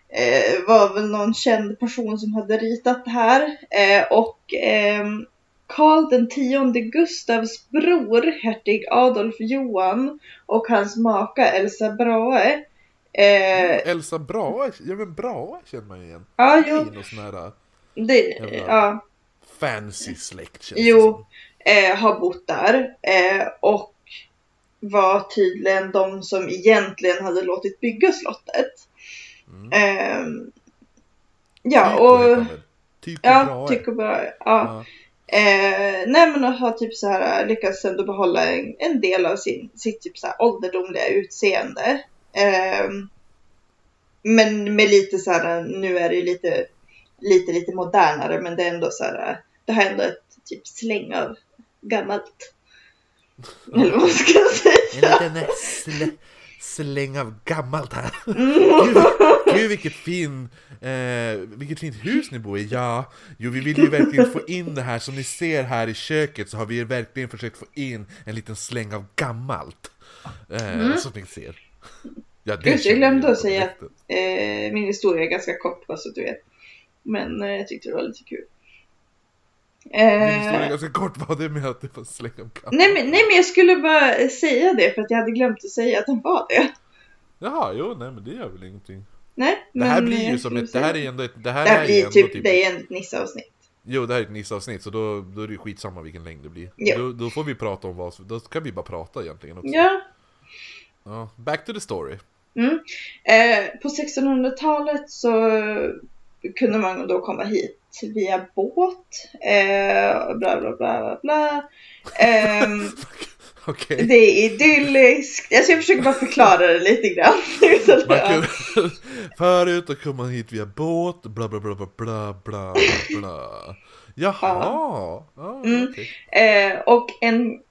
Speaker 1: eh, var väl någon känd person som hade ritat det här. Eh, och eh, Karl den tionde Gustavs bror, hertig Adolf Johan och hans maka Elsa Brahe. Eh,
Speaker 2: Elsa Brahe, ja men Brahe känner man ju igen.
Speaker 1: ja,
Speaker 2: Det är
Speaker 1: jo,
Speaker 2: någon sån här eh,
Speaker 1: det, ja.
Speaker 2: fancy släkt känns det
Speaker 1: Jo,
Speaker 2: som.
Speaker 1: eh, har bott där eh, och var tydligen de som egentligen hade låtit bygga slottet.
Speaker 2: Mm.
Speaker 1: Ehm, ja,
Speaker 2: Tycho Typ heter
Speaker 1: och...
Speaker 2: han
Speaker 1: Ja,
Speaker 2: väl? Tycho Brahe.
Speaker 1: tycker bara... Ja.
Speaker 2: Ja.
Speaker 1: Eh, nej, men har typ så här lyckats ändå behålla en, en del av sin, sitt typ så här ålderdomliga utseende. Ehm, men med lite så här, eh, nu är det ju lite, lite, lite modernare, men det är ändå så här, eh, det har ändå ett typ släng av gammalt. Eller vad man ska
Speaker 2: [laughs]
Speaker 1: säga.
Speaker 2: En liten sl- släng av gammalt här. [laughs]
Speaker 1: Mm.
Speaker 2: Gud, gud vilket, fin, eh, vilket fint hus ni bor i. Ja, jo vi vill ju verkligen få in det här. Som ni ser här i köket så har vi verkligen försökt få in en liten släng av gammalt. Eh, Som ni ser. Ja,
Speaker 1: Mm. Gud, jag
Speaker 2: känner
Speaker 1: glömde
Speaker 2: ju
Speaker 1: att säga
Speaker 2: direkt.
Speaker 1: Eh, min historia är ganska kort bara så att du vet. Men eh, jag tyckte det var lite kul.
Speaker 2: Din historia är
Speaker 1: Eh,
Speaker 2: ganska kort, vad det med att det var en släng av gammalt?
Speaker 1: nej, men, nej men jag skulle bara säga det för att jag hade glömt att säga att den var det.
Speaker 2: Jaha, jo, nej men det gör väl ingenting.
Speaker 1: Nej,
Speaker 2: Det här
Speaker 1: men,
Speaker 2: blir
Speaker 1: eh,
Speaker 2: ju
Speaker 1: jag
Speaker 2: som
Speaker 1: skulle
Speaker 2: ett, det här
Speaker 1: säga-
Speaker 2: är ändå ett, det här,
Speaker 1: det här
Speaker 2: är
Speaker 1: blir
Speaker 2: ju ändå
Speaker 1: typ,
Speaker 2: typ
Speaker 1: det är ett Nisse-avsnitt.
Speaker 2: Jo, det här är ett Nisse-avsnitt så då, då är det ju skitsamma vilken längd det blir.
Speaker 1: Ja.
Speaker 2: Då, då får vi prata om vad som- då kan vi bara prata egentligen också.
Speaker 1: Ja.
Speaker 2: Ja, Back to the story. [laughs]
Speaker 1: Mm. Eh, på 1600-talet så kunde man då komma hit via båt. Eh, bla bla bla bla bla. Ehm,
Speaker 2: [laughs] Okej.
Speaker 1: det är idylliskt. Alltså jag försöker bara förklara det lite grann. [laughs] Så
Speaker 2: [laughs]
Speaker 1: att-
Speaker 2: Man kunde, förut då kom man hit via båt, bla bla bla bla bla bla bla. Jaha! Ja.
Speaker 1: Mm.
Speaker 2: okej.
Speaker 1: Eh, och en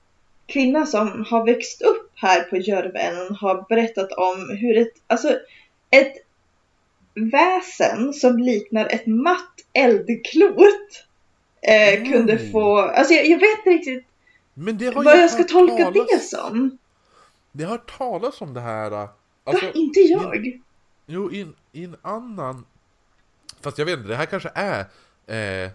Speaker 1: kvinna som har växt upp här på Jörven har berättat om hur ett, alltså ett väsen som liknar ett matt eldklot eh,
Speaker 2: Mm.
Speaker 1: kunde få, alltså jag, jag vet inte riktigt
Speaker 2: Men det har
Speaker 1: vad jag
Speaker 2: hört
Speaker 1: ska tolka det
Speaker 2: talas,
Speaker 1: som.
Speaker 2: det? har hört talas om det här. äh,
Speaker 1: Va?
Speaker 2: Alltså,
Speaker 1: Inte jag?
Speaker 2: jo, i en- i en annan... Fast jag vet inte, det här kanske är eh,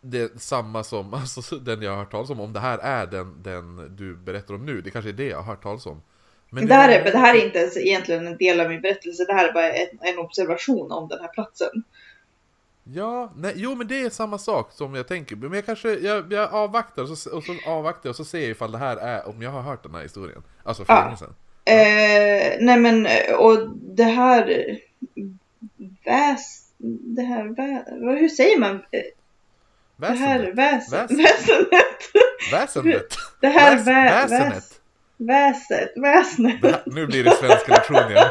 Speaker 2: det samma som, [laughs] alltså den jag har hört talas om. Om det här är den, den du berättar om nu, det kanske är det jag har hört talas om. Men
Speaker 1: Det här,
Speaker 2: har-
Speaker 1: är, det här är inte ens egentligen en del av min berättelse, det här är bara en, en observation om den här platsen.
Speaker 2: Ja, nej, jo men det är samma sak som jag tänker. Men jag kanske, jag, jag avvaktar och så, och så avvaktar jag och så ser jag ifall det här är, om jag har hört den här historien. Alltså för
Speaker 1: Ja.
Speaker 2: länge sedan.
Speaker 1: Eh, nej men, eh, och det här väs... Det här vä... vad- Hur säger man? Eh, Det här
Speaker 2: Väsendet.
Speaker 1: väs...
Speaker 2: Väsen.
Speaker 1: Väsenet!
Speaker 2: Väsendet.
Speaker 1: Det här
Speaker 2: Väs-
Speaker 1: vä... väs...
Speaker 2: Väsenet.
Speaker 1: Väset! Väsnet!
Speaker 2: Det här, nu blir det svenska lektion igen.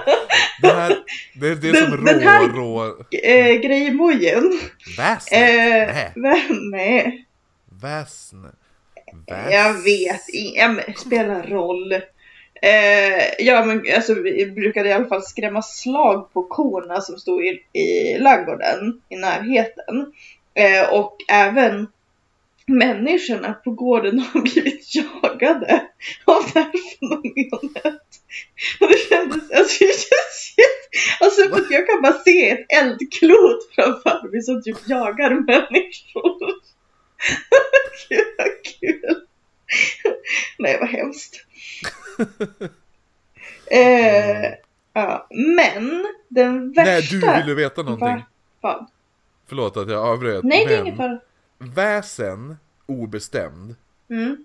Speaker 2: Det här, det, det är
Speaker 1: Den-
Speaker 2: som
Speaker 1: den här-
Speaker 2: rå, rå...
Speaker 1: Eh, Grejmojen!
Speaker 2: Väsen.
Speaker 1: Eh,
Speaker 2: Nej.
Speaker 1: vä- nej.
Speaker 2: Väsne. Väs...
Speaker 1: Jag vet inte. Ja, men Spelar roll. Eh, ja men alltså vi brukade i alla fall skrämma slag på korna som stod i, i ladugården i närheten. Eh, och även människorna på gården [laughs] har blivit jagade av det här fenomenet. Och det kändes, alltså, det känns, jätte- alltså för att jag kan bara se ett eldklot framför mig som typ jagar människor. Gud vad kul! Nej vad hemskt. eh, ja. Men den värsta...
Speaker 2: Nej, du ville veta någonting.
Speaker 1: Va? Fan.
Speaker 2: Förlåt att jag avbröt.
Speaker 1: Nej det är
Speaker 2: men
Speaker 1: ingen fara.
Speaker 2: Väsen, obestämd.
Speaker 1: Mm.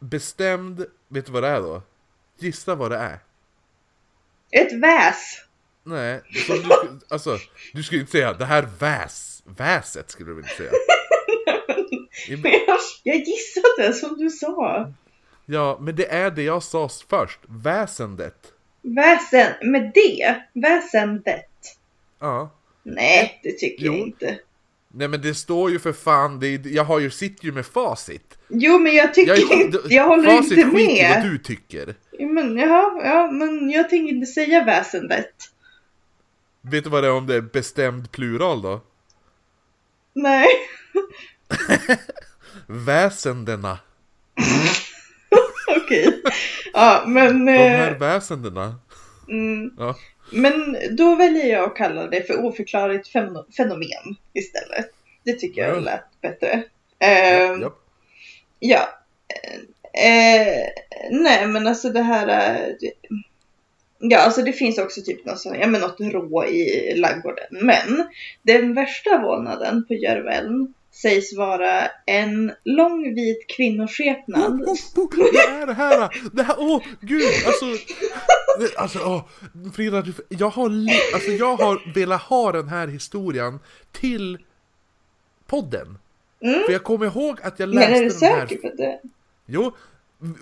Speaker 2: Bestämd, vet du vad det är då? Gissa vad det är.
Speaker 1: Ett väs.
Speaker 2: Nej, så du, skulle- alltså, du skulle inte säga det här väs, väset skulle du väl
Speaker 1: [laughs]
Speaker 2: inte säga?
Speaker 1: Men jag- Jag gissade som du sa.
Speaker 2: Ja, men det är det jag sa först, väsendet.
Speaker 1: Väsen, med det. Väsendet.
Speaker 2: Ja.
Speaker 1: Nej, det tycker jag
Speaker 2: Jo.
Speaker 1: inte.
Speaker 2: Nej men det står ju för fan, det är, jag har ju, sitter ju med facit.
Speaker 1: Jo, men jag tycker
Speaker 2: Jag,
Speaker 1: inte, [laughs] jag håller
Speaker 2: facit
Speaker 1: inte
Speaker 2: skiter i vad
Speaker 1: med.
Speaker 2: du tycker.
Speaker 1: Jo, Men, jaha, ja, men jag tänker inte säga väsendet.
Speaker 2: Vet du vad det är om det är bestämd plural då?
Speaker 1: Nej. [laughs]
Speaker 2: Väsendena.
Speaker 1: Okej. Ja, men...
Speaker 2: De
Speaker 1: eh,
Speaker 2: här väsendena.
Speaker 1: Mm.
Speaker 2: Ja.
Speaker 1: Men då väljer jag att kalla det för oförklarligt fen- fenomen istället. Det tycker jag
Speaker 2: Ja.
Speaker 1: lät bättre. Ehm,
Speaker 2: Japp.
Speaker 1: Ja. Eh, nej men alltså det här är... Ja alltså det finns också typ något, sån, ja, men något rå i laggården. Men den värsta vålnaden på Järvön sägs vara en lång vit kvinnoskepnad.
Speaker 2: Oh, oh, oh, det är det här! Det här, åh gud! Alltså, det, alltså åh, Frida, du, jag, har, li- alltså, jag har velat ha den här historien till podden.
Speaker 1: Mm.
Speaker 2: För jag kommer ihåg att jag
Speaker 1: Men
Speaker 2: läste
Speaker 1: är du
Speaker 2: den här.
Speaker 1: säker på det?
Speaker 2: Jo,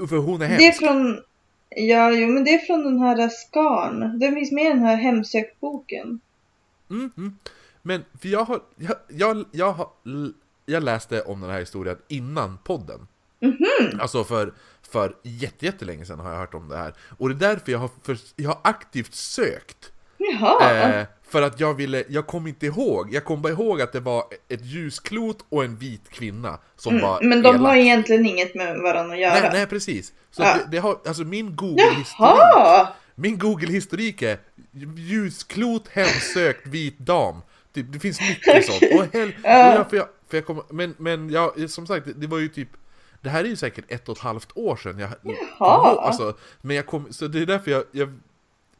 Speaker 2: för hon är
Speaker 1: Det är
Speaker 2: hemsk.
Speaker 1: från... Ja, jo, men det är från den här Skarn. Den finns med i den här hemsökboken.
Speaker 2: Mm, mm. Men för jag har, jag, jag, jag har, jag läste om den här historien innan podden.
Speaker 1: Mhm.
Speaker 2: Alltså för, för jätte- jättelänge sedan har jag hört om det här. Och det är därför jag har, för, jag har aktivt sökt.
Speaker 1: Jaha!
Speaker 2: Eh, för att jag ville, jag kom inte ihåg, jag kom bara ihåg att det var ett ljusklot och en vit kvinna som var
Speaker 1: Mm, men de
Speaker 2: elak.
Speaker 1: har egentligen inget med varandra att göra.
Speaker 2: Nej, nej precis. Så
Speaker 1: Ja.
Speaker 2: det, det har, alltså min Google-historik,
Speaker 1: Jaha!
Speaker 2: min Google-historik är ljusklot, hemsökt, vit dam. Det, det finns mycket sånt.
Speaker 1: [laughs]
Speaker 2: Och hel,
Speaker 1: Ja.
Speaker 2: och jag, för jag, för jag kom, men, men jag, som sagt, det, det var ju typ det här är ju säkert ett och ett halvt år sedan jag
Speaker 1: Jaha.
Speaker 2: alltså, men jag kom, så det är därför jag, jag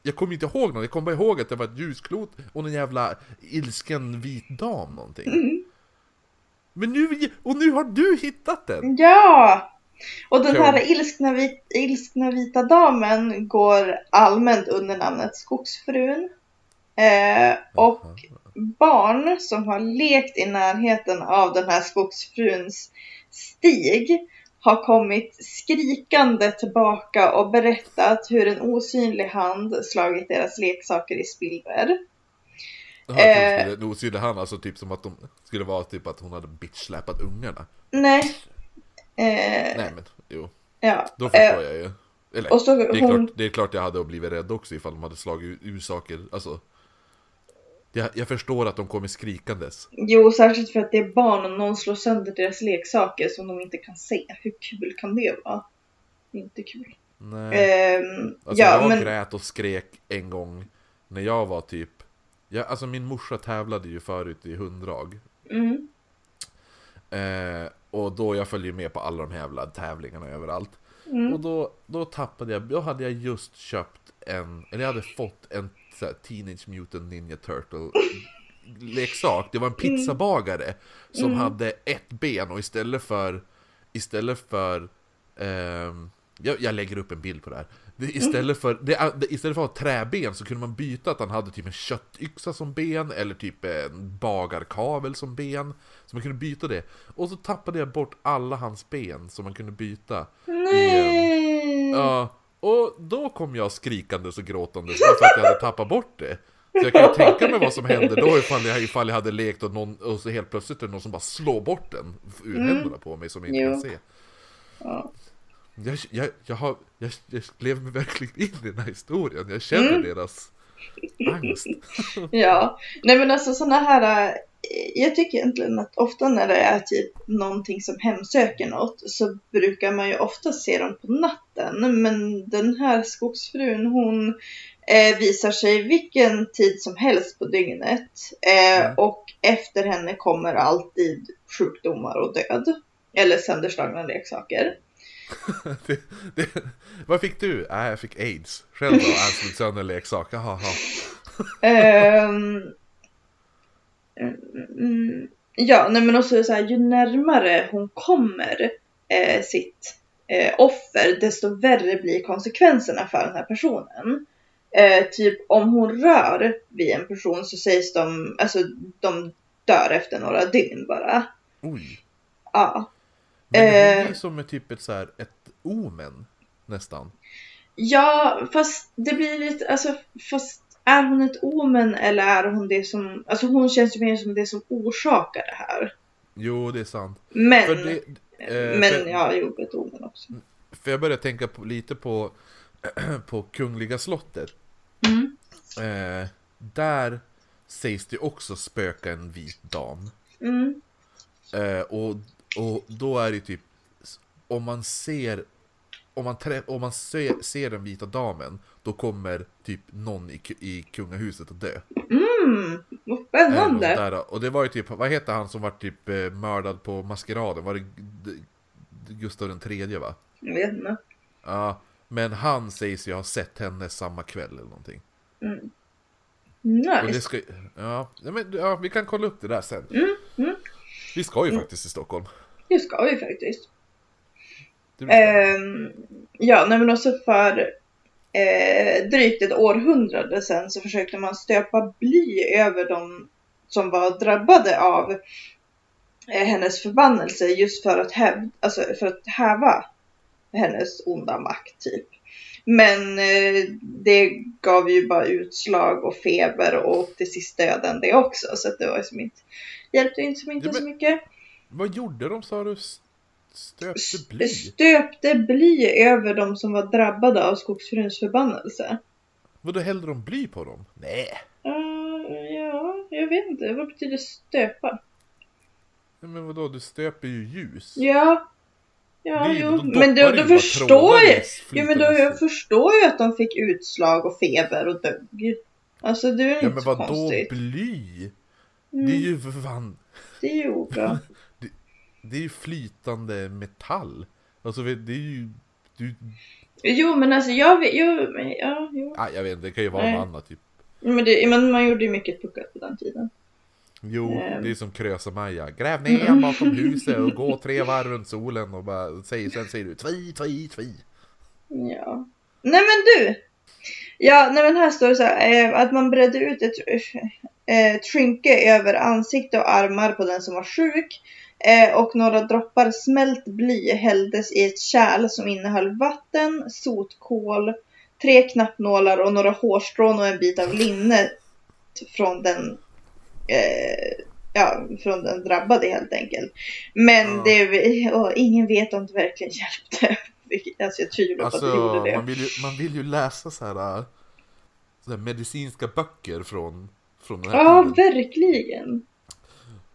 Speaker 2: jag kommer inte ihåg något, jag kommer bara ihåg att det var ett ljusklot och en jävla ilsken vit dam någonting.
Speaker 1: Mm.
Speaker 2: Men nu, och nu har du hittat den!
Speaker 1: Ja! Och den
Speaker 2: Cool.
Speaker 1: här ilskna, vit, ilskna vita damen går allmänt under namnet Skogsfrun. Eh, och barn som har lekt i närheten av den här skogsfruns stig har kommit skrikande tillbaka och berättat hur en osynlig hand slagit deras leksaker i spillror.
Speaker 2: Jaha, jag trodde
Speaker 1: eh.
Speaker 2: det skulle- Nog skulle han alltså typ som att de skulle vara typ att hon hade bitchsläpat ungarna.
Speaker 1: Nej. Eh,
Speaker 2: Nej men jo,
Speaker 1: ja.
Speaker 2: då förstår
Speaker 1: Eh,
Speaker 2: jag ju. Eller,
Speaker 1: Och så
Speaker 2: det, är
Speaker 1: hon...
Speaker 2: klart, det är klart jag hade blivit rädd också ifall de hade slagit ur saker, alltså. Jag, jag förstår att de kommer skrikandes.
Speaker 1: Jo, särskilt för att det är barn och någon slår sönder deras leksaker som de inte kan se. Hur kul kan det vara? Inte kul.
Speaker 2: Nej.
Speaker 1: Ehm,
Speaker 2: Alltså
Speaker 1: ja,
Speaker 2: jag
Speaker 1: men...
Speaker 2: grät och skrek en gång när jag var typ... Jag, alltså min morsa tävlade ju förut i hunddrag.
Speaker 1: Mm,
Speaker 2: Eh, och då jag följde ju med på alla de här jävla tävlingarna överallt.
Speaker 1: mm,
Speaker 2: Och då, då tappade jag, då hade jag just köpt en, eller jag hade fått en så här, Teenage Mutant Ninja Turtle leksak. Det var en
Speaker 1: Mm.
Speaker 2: pizzabagare som hade ett ben och istället för, istället för, ehm, jag, jag lägger upp en bild på det här. Det,
Speaker 1: Mm.
Speaker 2: istället, för, det, det, istället för att ha träben så kunde man byta att han hade typ en köttyxa som ben eller typ en bagarkavel som ben. Så man kunde byta det. Och så tappade jag bort alla hans ben som man kunde byta. ehm,
Speaker 1: Nej!
Speaker 2: Ja, och då kom jag skrikandes och gråtandes bara för att jag hade tappat bort det. Så jag kan ju tänka mig vad som hände då ifall jag, ifall jag hade lekt och, någon, och så helt plötsligt är det någon som bara slår bort den ur
Speaker 1: Mm.
Speaker 2: händerna på mig som jag inte
Speaker 1: Jo.
Speaker 2: kan se.
Speaker 1: Ja.
Speaker 2: Jag, jag, jag, har, jag, jag lever mig verkligen in i den här historien, jag känner
Speaker 1: Mm.
Speaker 2: deras angst. [laughs]
Speaker 1: [laughs] Ja, nej men alltså sådana här, eh, jag tycker egentligen att ofta när det är typ någonting som hemsöker något så brukar man ju ofta se dem på natten. Men den här skogsfrun hon eh, visar sig vilken tid som helst på dygnet. Eh,
Speaker 2: Mm.
Speaker 1: Och efter henne kommer alltid sjukdomar och död. Eller sönderslagna leksaker.
Speaker 2: Det, det, vad fick du? Äh, jag fick aids. Själv då? Jag slog sönder en leksak. Jaha, jaha.
Speaker 1: Ehm, mm, ja, nej men också är det så här, ju närmare hon kommer eh, sitt eh, offer, desto värre blir konsekvenserna för den här personen. Eh, typ om hon rör vid en person så sägs de, alltså de dör efter några dygn bara.
Speaker 2: Oj.
Speaker 1: Ja.
Speaker 2: Men det
Speaker 1: Eh.
Speaker 2: är ju som ett typ ett, så här, ett omen nästan.
Speaker 1: Ja, fast det blir lite, alltså fast är hon ett omen eller är hon det som, alltså hon känns ju mer som det som orsakar det här.
Speaker 2: Jo, det är sant.
Speaker 1: Men,
Speaker 2: För, det, eh,
Speaker 1: men
Speaker 2: för,
Speaker 1: ja, jo, ett omen också.
Speaker 2: för jag började tänka på, lite på, [clears throat] på Kungliga slottet.
Speaker 1: Mm.
Speaker 2: Eh, där sägs det också spöka en vit dam.
Speaker 1: Mm.
Speaker 2: Eh, och, och då är det typ, om man ser om man, trä, om man ser, ser den vita damen, då kommer typ någon i, ku- i kungahuset att dö.
Speaker 1: Mm, vad
Speaker 2: Eller något
Speaker 1: spännande.
Speaker 2: sånt där. Och det var ju typ, vad heter han som var typ eh, mördad på maskeraden? Var det G- D- Gustav den tredje va?
Speaker 1: Jag vet inte.
Speaker 2: Ja, men han sägs ju ha sett henne samma kväll eller någonting. Och det
Speaker 1: Nice.
Speaker 2: ska, ja, nej, men, ja, vi kan kolla upp det där sen.
Speaker 1: Mm, mm.
Speaker 2: Vi ska ju faktiskt till Stockholm.
Speaker 1: Det ska vi faktiskt.
Speaker 2: Det blir spännande.
Speaker 1: Ehm, ja, nej men också för eh, drygt ett århundrade sedan så försökte man stöpa bly över de som var drabbade av eh, hennes förbannelse just för att, häv, alltså för att häva hennes onda makt typ. Men eh, det gav ju bara utslag och feber och till sist döden det också så att det var ju som inte, hjälpte ju inte så, inte
Speaker 2: Ja, men-
Speaker 1: så mycket.
Speaker 2: Vad gjorde de sa du? S- Stöpte bly?
Speaker 1: Stöpte bly över de som var drabbade av skogsfruns förbannelse.
Speaker 2: Vadå hällde de bly på dem? Nej.
Speaker 1: Eh, ja, jag vet inte. Vad betyder stöpa?
Speaker 2: Nej, Men vadå, du stöper ju ljus.
Speaker 1: Ja. Ja,
Speaker 2: Bly,
Speaker 1: jo.
Speaker 2: då doppar
Speaker 1: Men då,
Speaker 2: ju
Speaker 1: då
Speaker 2: bara
Speaker 1: förstår
Speaker 2: trådar i
Speaker 1: jag. Jo, men då,
Speaker 2: flytande
Speaker 1: jag
Speaker 2: sy-
Speaker 1: förstår ju att de fick utslag och feber och dög. ju. Alltså det är väl
Speaker 2: Ja
Speaker 1: inte
Speaker 2: men
Speaker 1: så
Speaker 2: vadå
Speaker 1: konstigt.
Speaker 2: bly?
Speaker 1: Mm,
Speaker 2: Det är ju för fan,
Speaker 1: det är ju obra.
Speaker 2: det är ju flytande metall. Alltså det är ju, du,
Speaker 1: Jo, men alltså jag vet jo, men, ja, jo.
Speaker 2: ah, jag vet inte, det kan ju vara
Speaker 1: Nej.
Speaker 2: något annat typ.
Speaker 1: Men, det, men man gjorde ju mycket puckat på den tiden.
Speaker 2: Jo,
Speaker 1: Ehm.
Speaker 2: det är som Krösa-Maja. Gräv ner mm. bakom huset och gå tre varv runt solen och bara, säg, sen säger du tvi, tvi, tvi.
Speaker 1: Ja. Nej men du! Ja, nej men här står det så här, eh, att man bredde ut ett eh, trynke över ansikte och armar på den som var sjuk eh, och några droppar smält bly hälldes i ett kärl som innehöll vatten, sotkol, tre knappnålar och några hårstrån och en bit av linnet från den eh, Ja, från den drabbade helt enkelt. Men
Speaker 2: Ja.
Speaker 1: det, åh, ingen vet om det verkligen hjälpte. Vilket- Alltså jag tvivlar på att det
Speaker 2: Alltså
Speaker 1: gjorde det.
Speaker 2: man vill ju, man vill ju läsa så här, äh, så här medicinska böcker från, från den här
Speaker 1: Ja,
Speaker 2: tiden.
Speaker 1: verkligen.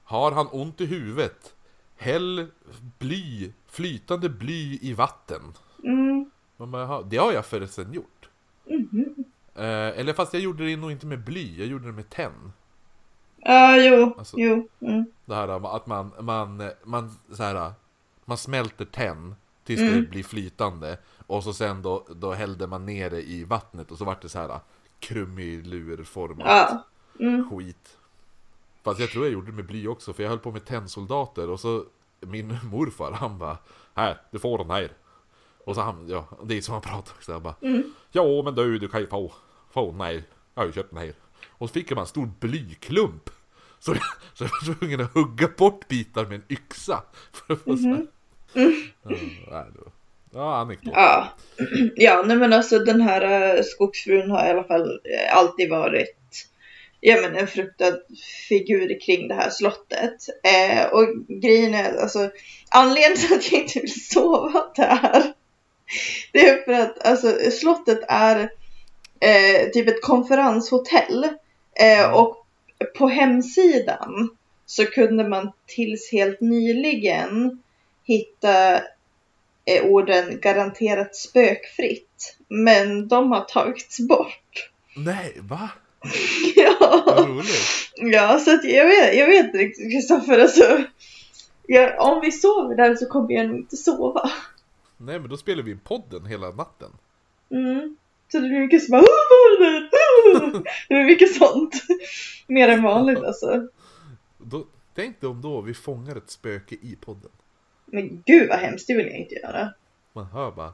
Speaker 2: Har han ont i huvudet? Häll bly, flytande bly i vatten.
Speaker 1: Mm.
Speaker 2: Man bara, "Jaha, det har jag förresten gjort.
Speaker 1: Mhm.
Speaker 2: Eh, eller fast jag gjorde det nog inte med bly, jag gjorde det med tenn.
Speaker 1: Ja, jo,
Speaker 2: Alltså-
Speaker 1: jo. Mm.
Speaker 2: Det här äh, att man, man, man, så här, äh, man smälter tenn tills det
Speaker 1: Mm.
Speaker 2: blir flytande. Och så sen då, då hällde man ner det i vattnet och så vart det så här äh, krumelurformat
Speaker 1: Ja. Mm.
Speaker 2: skit. Fast jag tror jag gjorde det med bly också, för jag höll på med tennsoldater och så min morfar han bara Här, du får den här. Och så han, ja, det är som han pratar också. Han bara
Speaker 1: Mm.
Speaker 2: Ja men du, du kan ju få, få den här. Jag har ju köpt den här. Och så fick man en stor blyklump. Så, så jag var tvungen att hugga bort bitar med en yxa. För att få så här. Ja, nej, det var- Ja,
Speaker 1: Mm-hmm.
Speaker 2: anekdot.
Speaker 1: Ja. [clears throat] ja, nej men alltså den här eh, skogsfrun har i alla fall eh, alltid varit ja, men en fruktad figur kring det här slottet. Eh, och grejen är alltså anledningen till att jag inte vill sova där det är för att alltså, slottet är eh, typ ett konferenshotell eh, och på hemsidan så kunde man tills helt nyligen hitta eh, orden garanterat spökfritt. Men de har tagits bort. [laughs]
Speaker 2: Nej, va?
Speaker 1: ja.
Speaker 2: Vad roligt.
Speaker 1: ja, så att jag vet, jag vet inte riktigt Kristoffer. Alltså, jag, om vi sover där så kommer jag nog inte sova.
Speaker 2: Nej, men då spelar vi podden hela natten.
Speaker 1: Mm. Så det blir mycket som bara, "Åh, vad var det där? Åh!" [laughs] Det blir mycket sånt. Mer än vanligt alltså.
Speaker 2: Då, tänk dig om då vi fångar ett spöke i podden.
Speaker 1: Men gud vad hemskt, det vill jag inte göra.
Speaker 2: Man hör bara...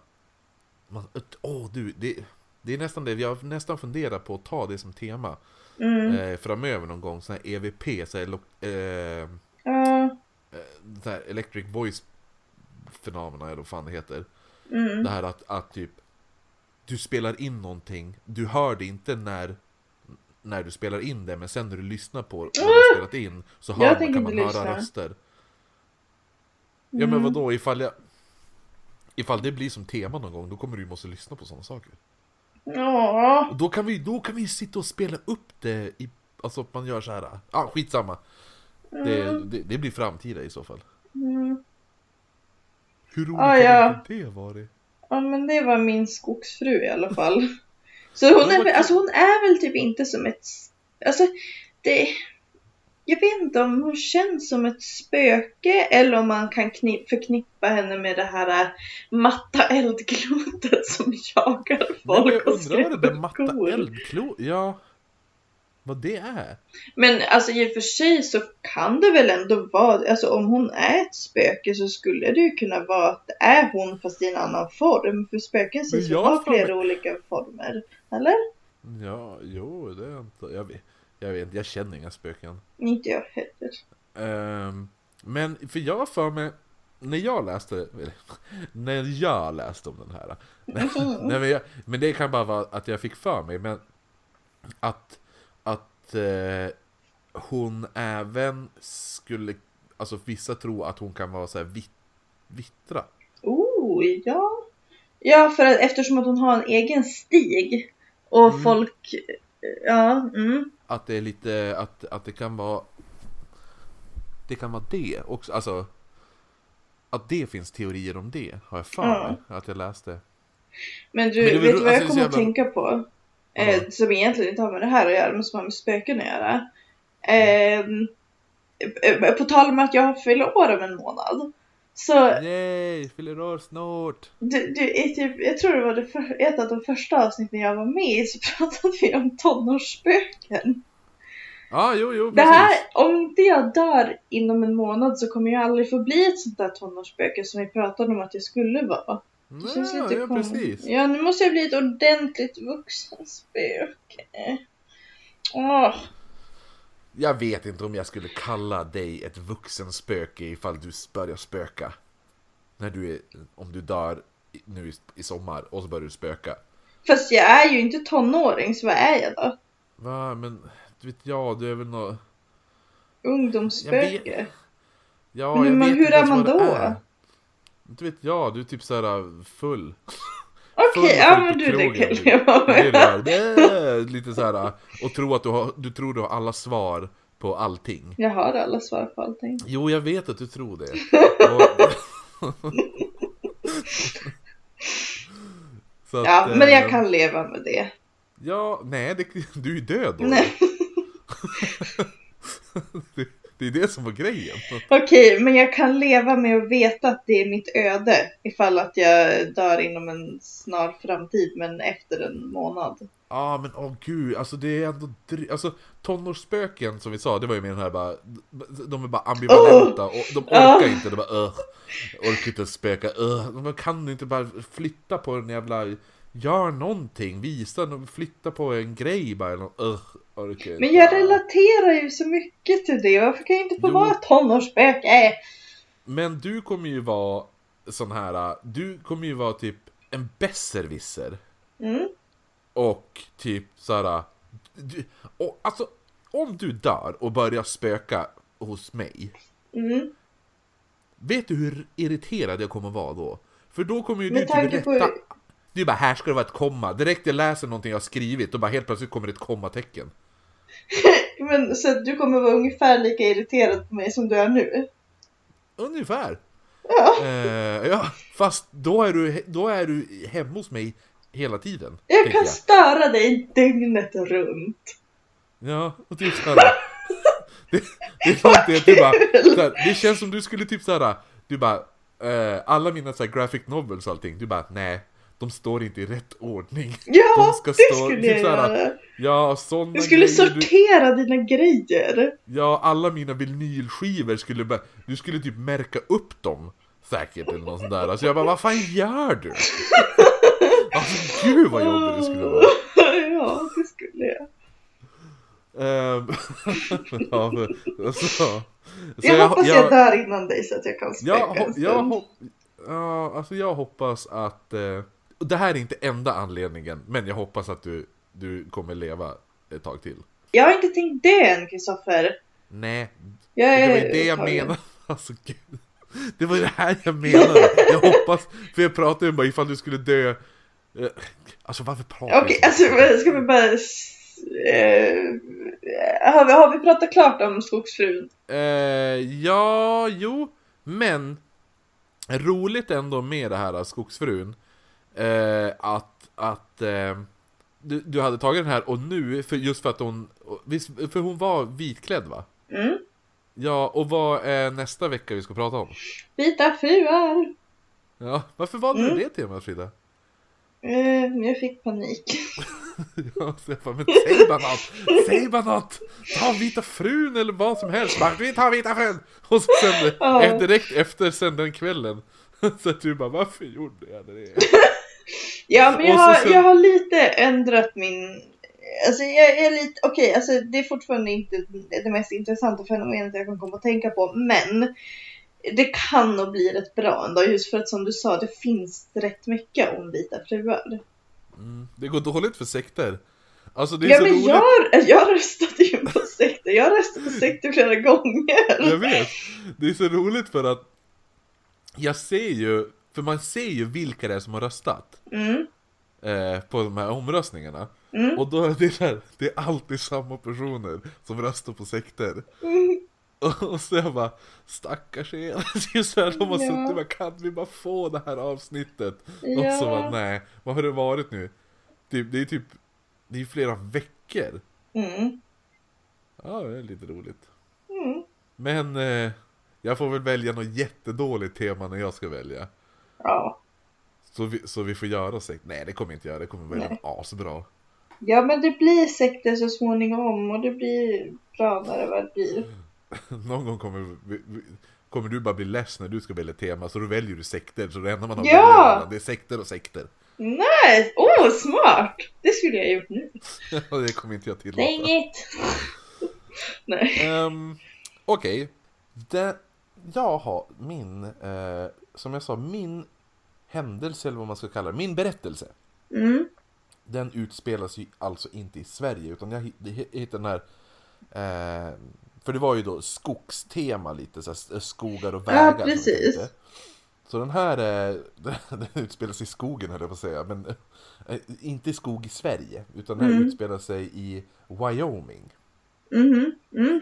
Speaker 2: Man, åh du, det, det är nästan det. Jag nästan funderar på att ta det som tema
Speaker 1: Mm.
Speaker 2: eh, framöver någon gång. Sån här EVP, så här, lo- eh,
Speaker 1: Ja.
Speaker 2: sån här Electric Voice fenomena eller vad fan det heter.
Speaker 1: Mm.
Speaker 2: Det här att, att typ du spelar in någonting, du hör det inte när när du spelar in det, men sen när du lyssnar på vad du har spelat in så
Speaker 1: Mm. Jag
Speaker 2: hör man,
Speaker 1: tänker
Speaker 2: kan man
Speaker 1: inte
Speaker 2: höra
Speaker 1: lyssna.
Speaker 2: röster. Ja men
Speaker 1: Mm.
Speaker 2: vadå, ifall jag... Ifall det blir som tema någon gång, då kommer du ju måste lyssna på sådana saker.
Speaker 1: Mm. Ja.
Speaker 2: Och då kan vi då kan vi ju sitta och spela upp det i... Alltså att man gör så här. Ja, ah, skitsamma. Det, det, det blir framtida i så fall.
Speaker 1: Mm.
Speaker 2: Hur roligt
Speaker 1: Ah,
Speaker 2: hade
Speaker 1: ja.
Speaker 2: inte det varit?
Speaker 1: Ja men det var min skogsfru i alla
Speaker 2: [laughs]
Speaker 1: fall. Så hon är, väl- alltså hon är väl typ inte som ett... Alltså det... Jag vet inte om hon känns som ett spöke eller om man kan kni- förknippa henne med det här äh, matta eldklotet som jagar
Speaker 2: Nej, men
Speaker 1: folk
Speaker 2: jag
Speaker 1: och
Speaker 2: undrar vad det där
Speaker 1: skrämmer
Speaker 2: matta
Speaker 1: kor.
Speaker 2: eldklo... Ja. Vad det är?
Speaker 1: Men alltså i och för sig så kan det väl ändå vara, alltså om hon är ett spöke så skulle det ju kunna vara att det är hon fast i en annan form. För spöken sägs ju
Speaker 2: jag
Speaker 1: ha
Speaker 2: har för mig-
Speaker 1: flera olika former. Eller?
Speaker 2: Ja, jo, det är inte... Jag vet, jag vet jag känner inga spöken.
Speaker 1: Inte jag heller.
Speaker 2: Ehm, men, för jag har för mig... När jag läste... eller, [laughs] När jag läste om den här...
Speaker 1: Mm.
Speaker 2: Nej, men, jag, men det kan bara vara att jag fick för mig, men... Att... Att... Eh, hon även skulle... Alltså vissa tror att hon kan vara så här vit, vittra.
Speaker 1: Oh, ja. Ja, för att, eftersom att hon har en egen stig. Och
Speaker 2: Mm.
Speaker 1: folk, ja, mm.
Speaker 2: Att det är lite, att, att det kan vara Det kan vara det också, alltså Att det finns teorier om det har jag för mig att jag läste
Speaker 1: Men du,
Speaker 2: Men det är väl
Speaker 1: vet
Speaker 2: ro-
Speaker 1: du vad jag
Speaker 2: alltså,
Speaker 1: kommer
Speaker 2: det är
Speaker 1: att
Speaker 2: så jävla-
Speaker 1: tänka på?
Speaker 2: Vadå?
Speaker 1: Eh, som egentligen inte har med det här att göra, men som har med spöken att göra. Ehm, Eh, på tal om att jag fyller år om en månad. Så
Speaker 2: Yay, fyller år snart!
Speaker 1: du, du, är typ, jag tror det var det för, ett av de första avsnitten jag var med i så [laughs] pratade vi om tonårsspöken.
Speaker 2: Ja, jo, jo,
Speaker 1: Det
Speaker 2: precis!
Speaker 1: här, om inte jag dör inom en månad så kommer jag aldrig få bli ett sånt där tonårsspöke som vi pratade om att jag skulle vara. Det känns
Speaker 2: ja,
Speaker 1: lite
Speaker 2: ja,
Speaker 1: konstigt.
Speaker 2: precis!
Speaker 1: Ja, nu måste jag bli ett ordentligt vuxenspöke. Åh,
Speaker 2: Jag vet inte om jag skulle kalla dig ett vuxenspöke ifall du börjar spöka När du är, om du dör i- nu i, i sommar och så börjar du spöka
Speaker 1: Fast jag är ju inte tonåring, så vad är jag då?
Speaker 2: Va, men du vet, ja, du är väl nå
Speaker 1: Ungdomsspöke?
Speaker 2: Jag vet- Ja,
Speaker 1: Men hur
Speaker 2: jag
Speaker 1: man-
Speaker 2: vet
Speaker 1: hur
Speaker 2: inte
Speaker 1: är
Speaker 2: ens
Speaker 1: man
Speaker 2: vad det
Speaker 1: då?
Speaker 2: Inte vet jag, du är typ
Speaker 1: [laughs]
Speaker 2: såhär full.
Speaker 1: Okej,
Speaker 2: Full och
Speaker 1: ja
Speaker 2: folk
Speaker 1: men
Speaker 2: på
Speaker 1: du, det
Speaker 2: krogen,
Speaker 1: kan jag vara
Speaker 2: Det är
Speaker 1: med.
Speaker 2: det här, "Äh", lite såhär, och tror att du har, du tror du har alla svar på allting.
Speaker 1: Jag har alla svar på allting.
Speaker 2: Jo, jag vet att du
Speaker 1: [laughs]
Speaker 2: tror det. Och... Så att,
Speaker 1: Ja, men
Speaker 2: eh,
Speaker 1: jag kan leva med det.
Speaker 2: Ja, nej, det, du är ju död då.
Speaker 1: Nej. [laughs]
Speaker 2: [laughs] Det, det är det som var grejen.
Speaker 1: Okej, men jag kan leva med att veta att det är mitt öde ifall att jag dör inom en snar framtid, men efter en månad.
Speaker 2: Ja men åh gud, alltså det är ändå dry- Alltså tonårsspöken som vi sa, det var ju mer den här bara De är bara ambivalenta och de orkar
Speaker 1: Ah.
Speaker 2: inte, de bara öh Orkar inte spöka, öh Man kan inte bara flytta på en jävla Gör någonting, visa, nå- flytta på en grej bara eller nåt, öh orkar inte.
Speaker 1: Men jag relaterar ju så mycket till det, varför kan jag inte få
Speaker 2: Jo.
Speaker 1: vara ett tonårsspöke? Äh,
Speaker 2: Men du kommer ju vara sån här, du kommer ju vara typ en besserwisser
Speaker 1: Mm.
Speaker 2: Och typ såhär... Du, och, alltså, om du dör och börjar spöka hos mig,
Speaker 1: Mm.
Speaker 2: vet du hur irriterad jag kommer vara då? För då kommer ju
Speaker 1: Med
Speaker 2: du typ
Speaker 1: tanke på
Speaker 2: rätta...
Speaker 1: hur-
Speaker 2: Du bara, här ska det vara ett komma. Direkt jag läser någonting jag har skrivit, då bara helt plötsligt kommer det ett kommatecken.
Speaker 1: Men så att du kommer vara ungefär lika irriterad på mig som du är nu?
Speaker 2: Ungefär.
Speaker 1: Ja,
Speaker 2: Eh, ja, fast då är, du, då är du hemma hos mig hela tiden.
Speaker 1: jag
Speaker 2: tänker
Speaker 1: kan störa dig dygnet runt.
Speaker 2: Ja, och typ såhär Det, det är sant det, du bara, såhär, det känns som du skulle typ såhär Du bara, eh, alla mina såhär graphic novels och allting, du bara nej De står inte i rätt ordning
Speaker 1: Ja,
Speaker 2: ska
Speaker 1: det
Speaker 2: stå-
Speaker 1: skulle
Speaker 2: typ
Speaker 1: jag
Speaker 2: så här,
Speaker 1: göra.
Speaker 2: Ja, såna
Speaker 1: Du skulle
Speaker 2: grejer du,
Speaker 1: sortera dina grejer.
Speaker 2: Ja, alla mina vinylskivor skulle bara, du skulle typ märka upp dem Säkert eller något sånt där, alltså jag bara vad fan gör du? Alltså gud vad jobbigt det skulle vara
Speaker 1: [laughs] ja, det skulle jag.
Speaker 2: Ehm, [laughs] ja, men, alltså, så
Speaker 1: jag, hoppas jag, dör innan dig så att jag kan spöka [laughs]
Speaker 2: Jag,
Speaker 1: en
Speaker 2: ho-
Speaker 1: stund.
Speaker 2: jag, hop- ja, alltså jag hoppas att... Eh, och det här är inte enda anledningen, men jag hoppas att du, du kommer leva ett tag till.
Speaker 1: Jag har inte tänkt dö än Kristoffer.
Speaker 2: Nej,
Speaker 1: Jag
Speaker 2: det
Speaker 1: är
Speaker 2: var ju det jag
Speaker 1: upptagen.
Speaker 2: menade. [laughs] Alltså, gud. Det var det här jag menade. Jag hoppas, för jag pratade ju bara ifall du skulle dö... Eh, Alltså varför pratar
Speaker 1: Okej,
Speaker 2: vi så?
Speaker 1: alltså ska vi bara... s- eh, har, vi, har vi pratat klart om skogsfrun?
Speaker 2: Eh, ja, jo, men roligt ändå med det här eh, skogsfrun Eh, att att eh, du, du hade tagit den här och nu, för, just för att hon... visst, För hon var vitklädd va?
Speaker 1: Mm.
Speaker 2: Ja, och vad är nästa vecka vi ska prata om?
Speaker 1: Vita fruar!
Speaker 2: Ja, varför valde
Speaker 1: Mm.
Speaker 2: du det temat Frida?
Speaker 1: Eh, jag fick panik.
Speaker 2: [laughs] Ja, så jag bara, men säg bara något! Säg bara något! Ta vita frun eller vad som helst! Bara, vi tar vita frun! Och så sen,
Speaker 1: Ja.
Speaker 2: eh, direkt efter sen den kvällen [laughs] Så att du bara, varför gjorde jag det?
Speaker 1: Ja, men jag
Speaker 2: Och så
Speaker 1: har,
Speaker 2: sen-
Speaker 1: jag har lite ändrat min... Alltså jag är lite, okej, alltså det är fortfarande inte det mest intressanta fenomenet jag kan komma att tänka på, men det kan nog bli rätt bra ändå, just för att som du sa, det finns rätt mycket om vita fruar.
Speaker 2: Mm, det går dåligt för sekter Alltså det är
Speaker 1: Ja,
Speaker 2: så
Speaker 1: men
Speaker 2: roligt
Speaker 1: jag, jag röstade ju på sekter, jag röstade på sekter flera gånger.
Speaker 2: Jag vet! Det är så roligt för att Jag ser ju, för man ser ju vilka det är som har röstat [laughs]
Speaker 1: Mm,
Speaker 2: eh, På de här omröstningarna
Speaker 1: mm,
Speaker 2: Och då är det där, det är alltid samma personer som röstar på sekter
Speaker 1: mm.
Speaker 2: [laughs] Och så jag bara, stackars er. [laughs] Det är så här, de har
Speaker 1: Ja.
Speaker 2: suttit bara, kan vi bara få det här avsnittet? Och så bara,
Speaker 1: Ja.
Speaker 2: nej, vad har det varit nu? Typ, det är typ, det är flera veckor.
Speaker 1: Mm,
Speaker 2: Ja, det är lite roligt.
Speaker 1: mm.
Speaker 2: Men eh, jag får väl välja något jättedåligt tema när jag ska välja.
Speaker 1: Ja.
Speaker 2: Så vi, så vi får göra sekt. Nej, det kommer jag inte göra. Det kommer välja
Speaker 1: Nej.
Speaker 2: något asbra. [laughs]
Speaker 1: ja, men det blir sekter så småningom och det blir bra när det väl blir.
Speaker 2: Mm. Någon gång kommer, vi- vi- kommer du bara bli less när du ska välja tema, så då väljer du sekter. Så det enda man har
Speaker 1: Ja!
Speaker 2: att välja mellan, det är sekter och sekter. [laughs]
Speaker 1: Nej, åh oh, smart! Det skulle jag gjort nu.
Speaker 2: Och det kommer inte jag tillåta.
Speaker 1: Dang it! [laughs] Nej.
Speaker 2: Ehm, Okej. Det- Jag har min, eh, som jag sa, min händelse eller vad man ska kalla det, min berättelse.
Speaker 1: Mm,
Speaker 2: Den utspelas ju alltså inte i Sverige utan jag hitt- hittade den här eh, för det var ju då skogstema lite, så här, skogar och vägar. som jag
Speaker 1: precis.
Speaker 2: tänkte. Så den här eh, [laughs] den, den utspelas i skogen höll jag på att säga, men eh, inte i skog i Sverige. Utan den här
Speaker 1: Mm.
Speaker 2: utspelar sig i Wyoming.
Speaker 1: mhm, mm.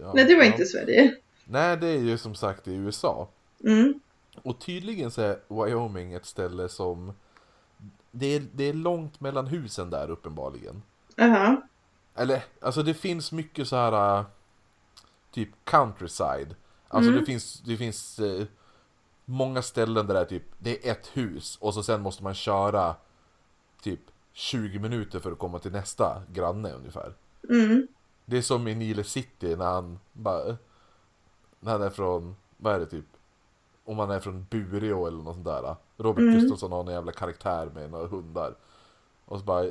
Speaker 2: Ja,
Speaker 1: [laughs] Nej, det var
Speaker 2: ja.
Speaker 1: inte Sverige.
Speaker 2: Nej, det är ju som sagt i USA.
Speaker 1: Mm,
Speaker 2: Och tydligen så är Wyoming ett ställe som... Det är, det är långt mellan husen där uppenbarligen.
Speaker 1: aha.
Speaker 2: Eller, alltså det finns mycket så här... äh, Typ countryside. Alltså
Speaker 1: Mm.
Speaker 2: det finns, det finns eh, många ställen där det är typ, det är ett hus och så sen måste man köra typ 20 minuter för att komma till nästa granne ungefär.
Speaker 1: Mm,
Speaker 2: Det är som i Nile City när han bara... När han är från, vad är det typ? Om han är från Bureå eller något sånt där. Robert
Speaker 1: Mm.
Speaker 2: Gustafsson har en jävla karaktär med några hundar. Och så bara...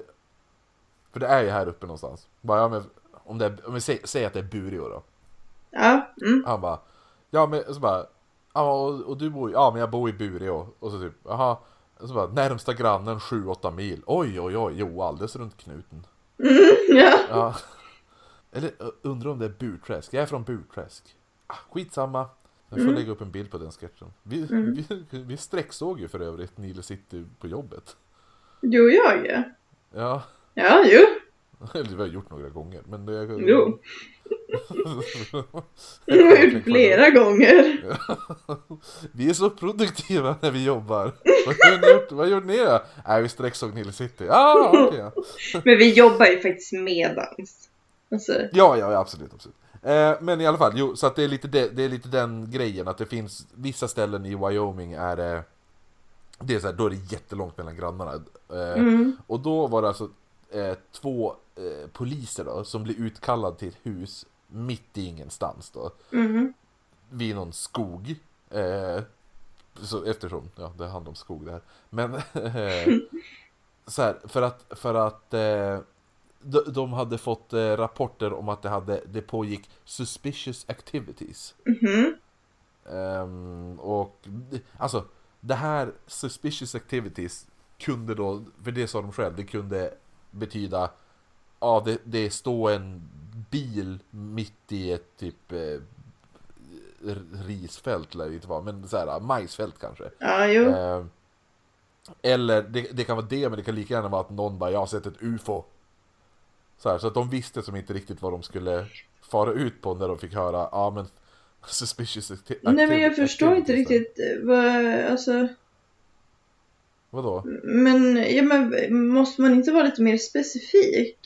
Speaker 2: För det är ju här uppe någonstans. Bara, ja, men, om det är, om vi säger, säger att det är Bureå då.
Speaker 1: ja, mm, [laughs]
Speaker 2: Han bara, ja men så bara, ja och, och du bor i, ja men jag bor i Bureå. Och så typ, jaha. Och Så bara, närmsta grannen 7-8 mil. Oj oj oj, jo alldeles runt knuten.
Speaker 1: ja.
Speaker 2: Ja. Eller ö, undrar om det är Burträsk. Jag är från Burträsk. Ah, skitsamma. Jag får
Speaker 1: Mm.
Speaker 2: lägga upp en bild på den sketchen. Vi,
Speaker 1: Mm.
Speaker 2: vi, vi sträcksåg ju för övrigt Nile City på jobbet.
Speaker 1: Jo, jag ja.
Speaker 2: Ja, [laughs]
Speaker 1: Ja, jo.
Speaker 2: eller vi har gjort några gånger. Men det, [laughs]
Speaker 1: Jo.
Speaker 2: Jag
Speaker 1: Det har jag
Speaker 2: kommer
Speaker 1: gjort
Speaker 2: inte
Speaker 1: flera gånger.
Speaker 2: [laughs] ihåg. Vi är så produktiva när vi jobbar. Vad har ni gjort? Vad gjorde ni då? Nej, vi sträcksåg Nile City. Ah, okej, ja.
Speaker 1: Men vi jobbar ju faktiskt medans. Alltså,
Speaker 2: Ja, ja, ja absolut. absolut. Eh, men i alla fall, jo, så att det, är lite de, det är lite den grejen att det finns vissa ställen i Wyoming är eh, det är så här, då är det jättelångt mellan grannarna. Eh,
Speaker 1: mm,
Speaker 2: Och då var det alltså eh, två eh, poliser då, som blev utkallade till ett hus mitt i ingenstans då,
Speaker 1: mm,
Speaker 2: vid någon skog. Eh, så eftersom, ja, det handlar om skog det här. Men eh, så här, för att, för att eh, de, de hade fått eh, rapporter om att det, hade, det pågick suspicious activities.
Speaker 1: mhm,
Speaker 2: Ehm, och alltså, det här suspicious activities kunde då, för det sa de själv, det kunde betyda ja, det, det står en bil mitt i ett typ eh, r- risfält lär det inte vara, men så här majsfält kanske.
Speaker 1: ja, jo.
Speaker 2: Eh, eller det, det kan vara det, men det kan lika gärna vara att någon bara, jag har sett ett UFO. Så, här, så att de visste som inte riktigt vad de skulle fara ut på när de fick höra, ja men suspicious acti- liksom.
Speaker 1: Nej, men
Speaker 2: activity-
Speaker 1: jag förstår inte
Speaker 2: activities."
Speaker 1: riktigt eh, vad, alltså.
Speaker 2: Vadå?
Speaker 1: Men, ja, men måste man inte vara lite mer specifik?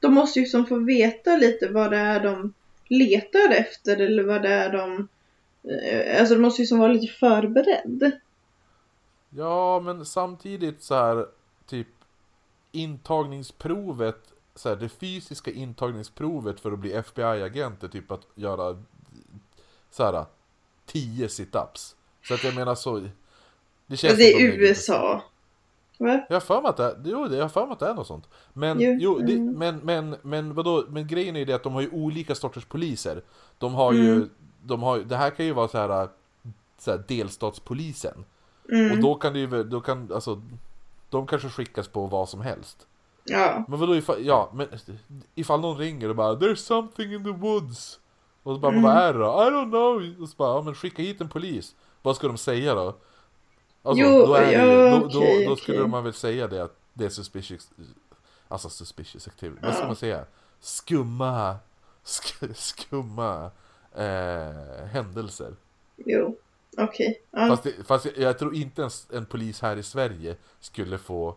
Speaker 1: De måste ju liksom få veta lite vad det är de letar efter eller vad det är de... eh, Alltså de måste ju liksom vara lite förberedd.
Speaker 2: Ja, men samtidigt så här typ intagningsprovet, så här, det fysiska intagningsprovet för att bli FBI-agent är typ att göra så här 10 situps. Så att jag menar så. Det
Speaker 1: Ja,
Speaker 2: känns
Speaker 1: det
Speaker 2: som
Speaker 1: är
Speaker 2: de lägger-
Speaker 1: USA. Va?
Speaker 2: Jag har för mig att det är, jo, det- jag har för mig att det är något sånt. Men,
Speaker 1: Jo,
Speaker 2: jo, det,
Speaker 1: mm.
Speaker 2: men, men, men, vadå, men grejen är ju det att de har ju olika sorters poliser. De har ju,
Speaker 1: Mm.
Speaker 2: de har, ju- det här kan ju vara så här, så här delstatspolisen.
Speaker 1: Mm.
Speaker 2: Och då kan det ju, då kan, alltså, de kanske skickas på vad som helst.
Speaker 1: Ja.
Speaker 2: Men vadå ifall, ja, men ifall någon ringer och bara “There's something in the woods” och så bara
Speaker 1: Mm.
Speaker 2: “Vad är det då?” “I don't know” och så bara “Ja men skicka hit en polis” Vad ska de säga då? Alltså,
Speaker 1: Jo,
Speaker 2: då, är det
Speaker 1: ja,
Speaker 2: ju, då,
Speaker 1: okej,
Speaker 2: då, då skulle
Speaker 1: okej.
Speaker 2: man väl säga det att det är suspicious, alltså suspicious activity, vad ska
Speaker 1: Ja.
Speaker 2: man säga? Skumma, sk, skumma eh, händelser.
Speaker 1: Jo. Okej. Ja.
Speaker 2: Fast, det, fast jag, jag tror inte ens en polis här i Sverige skulle få,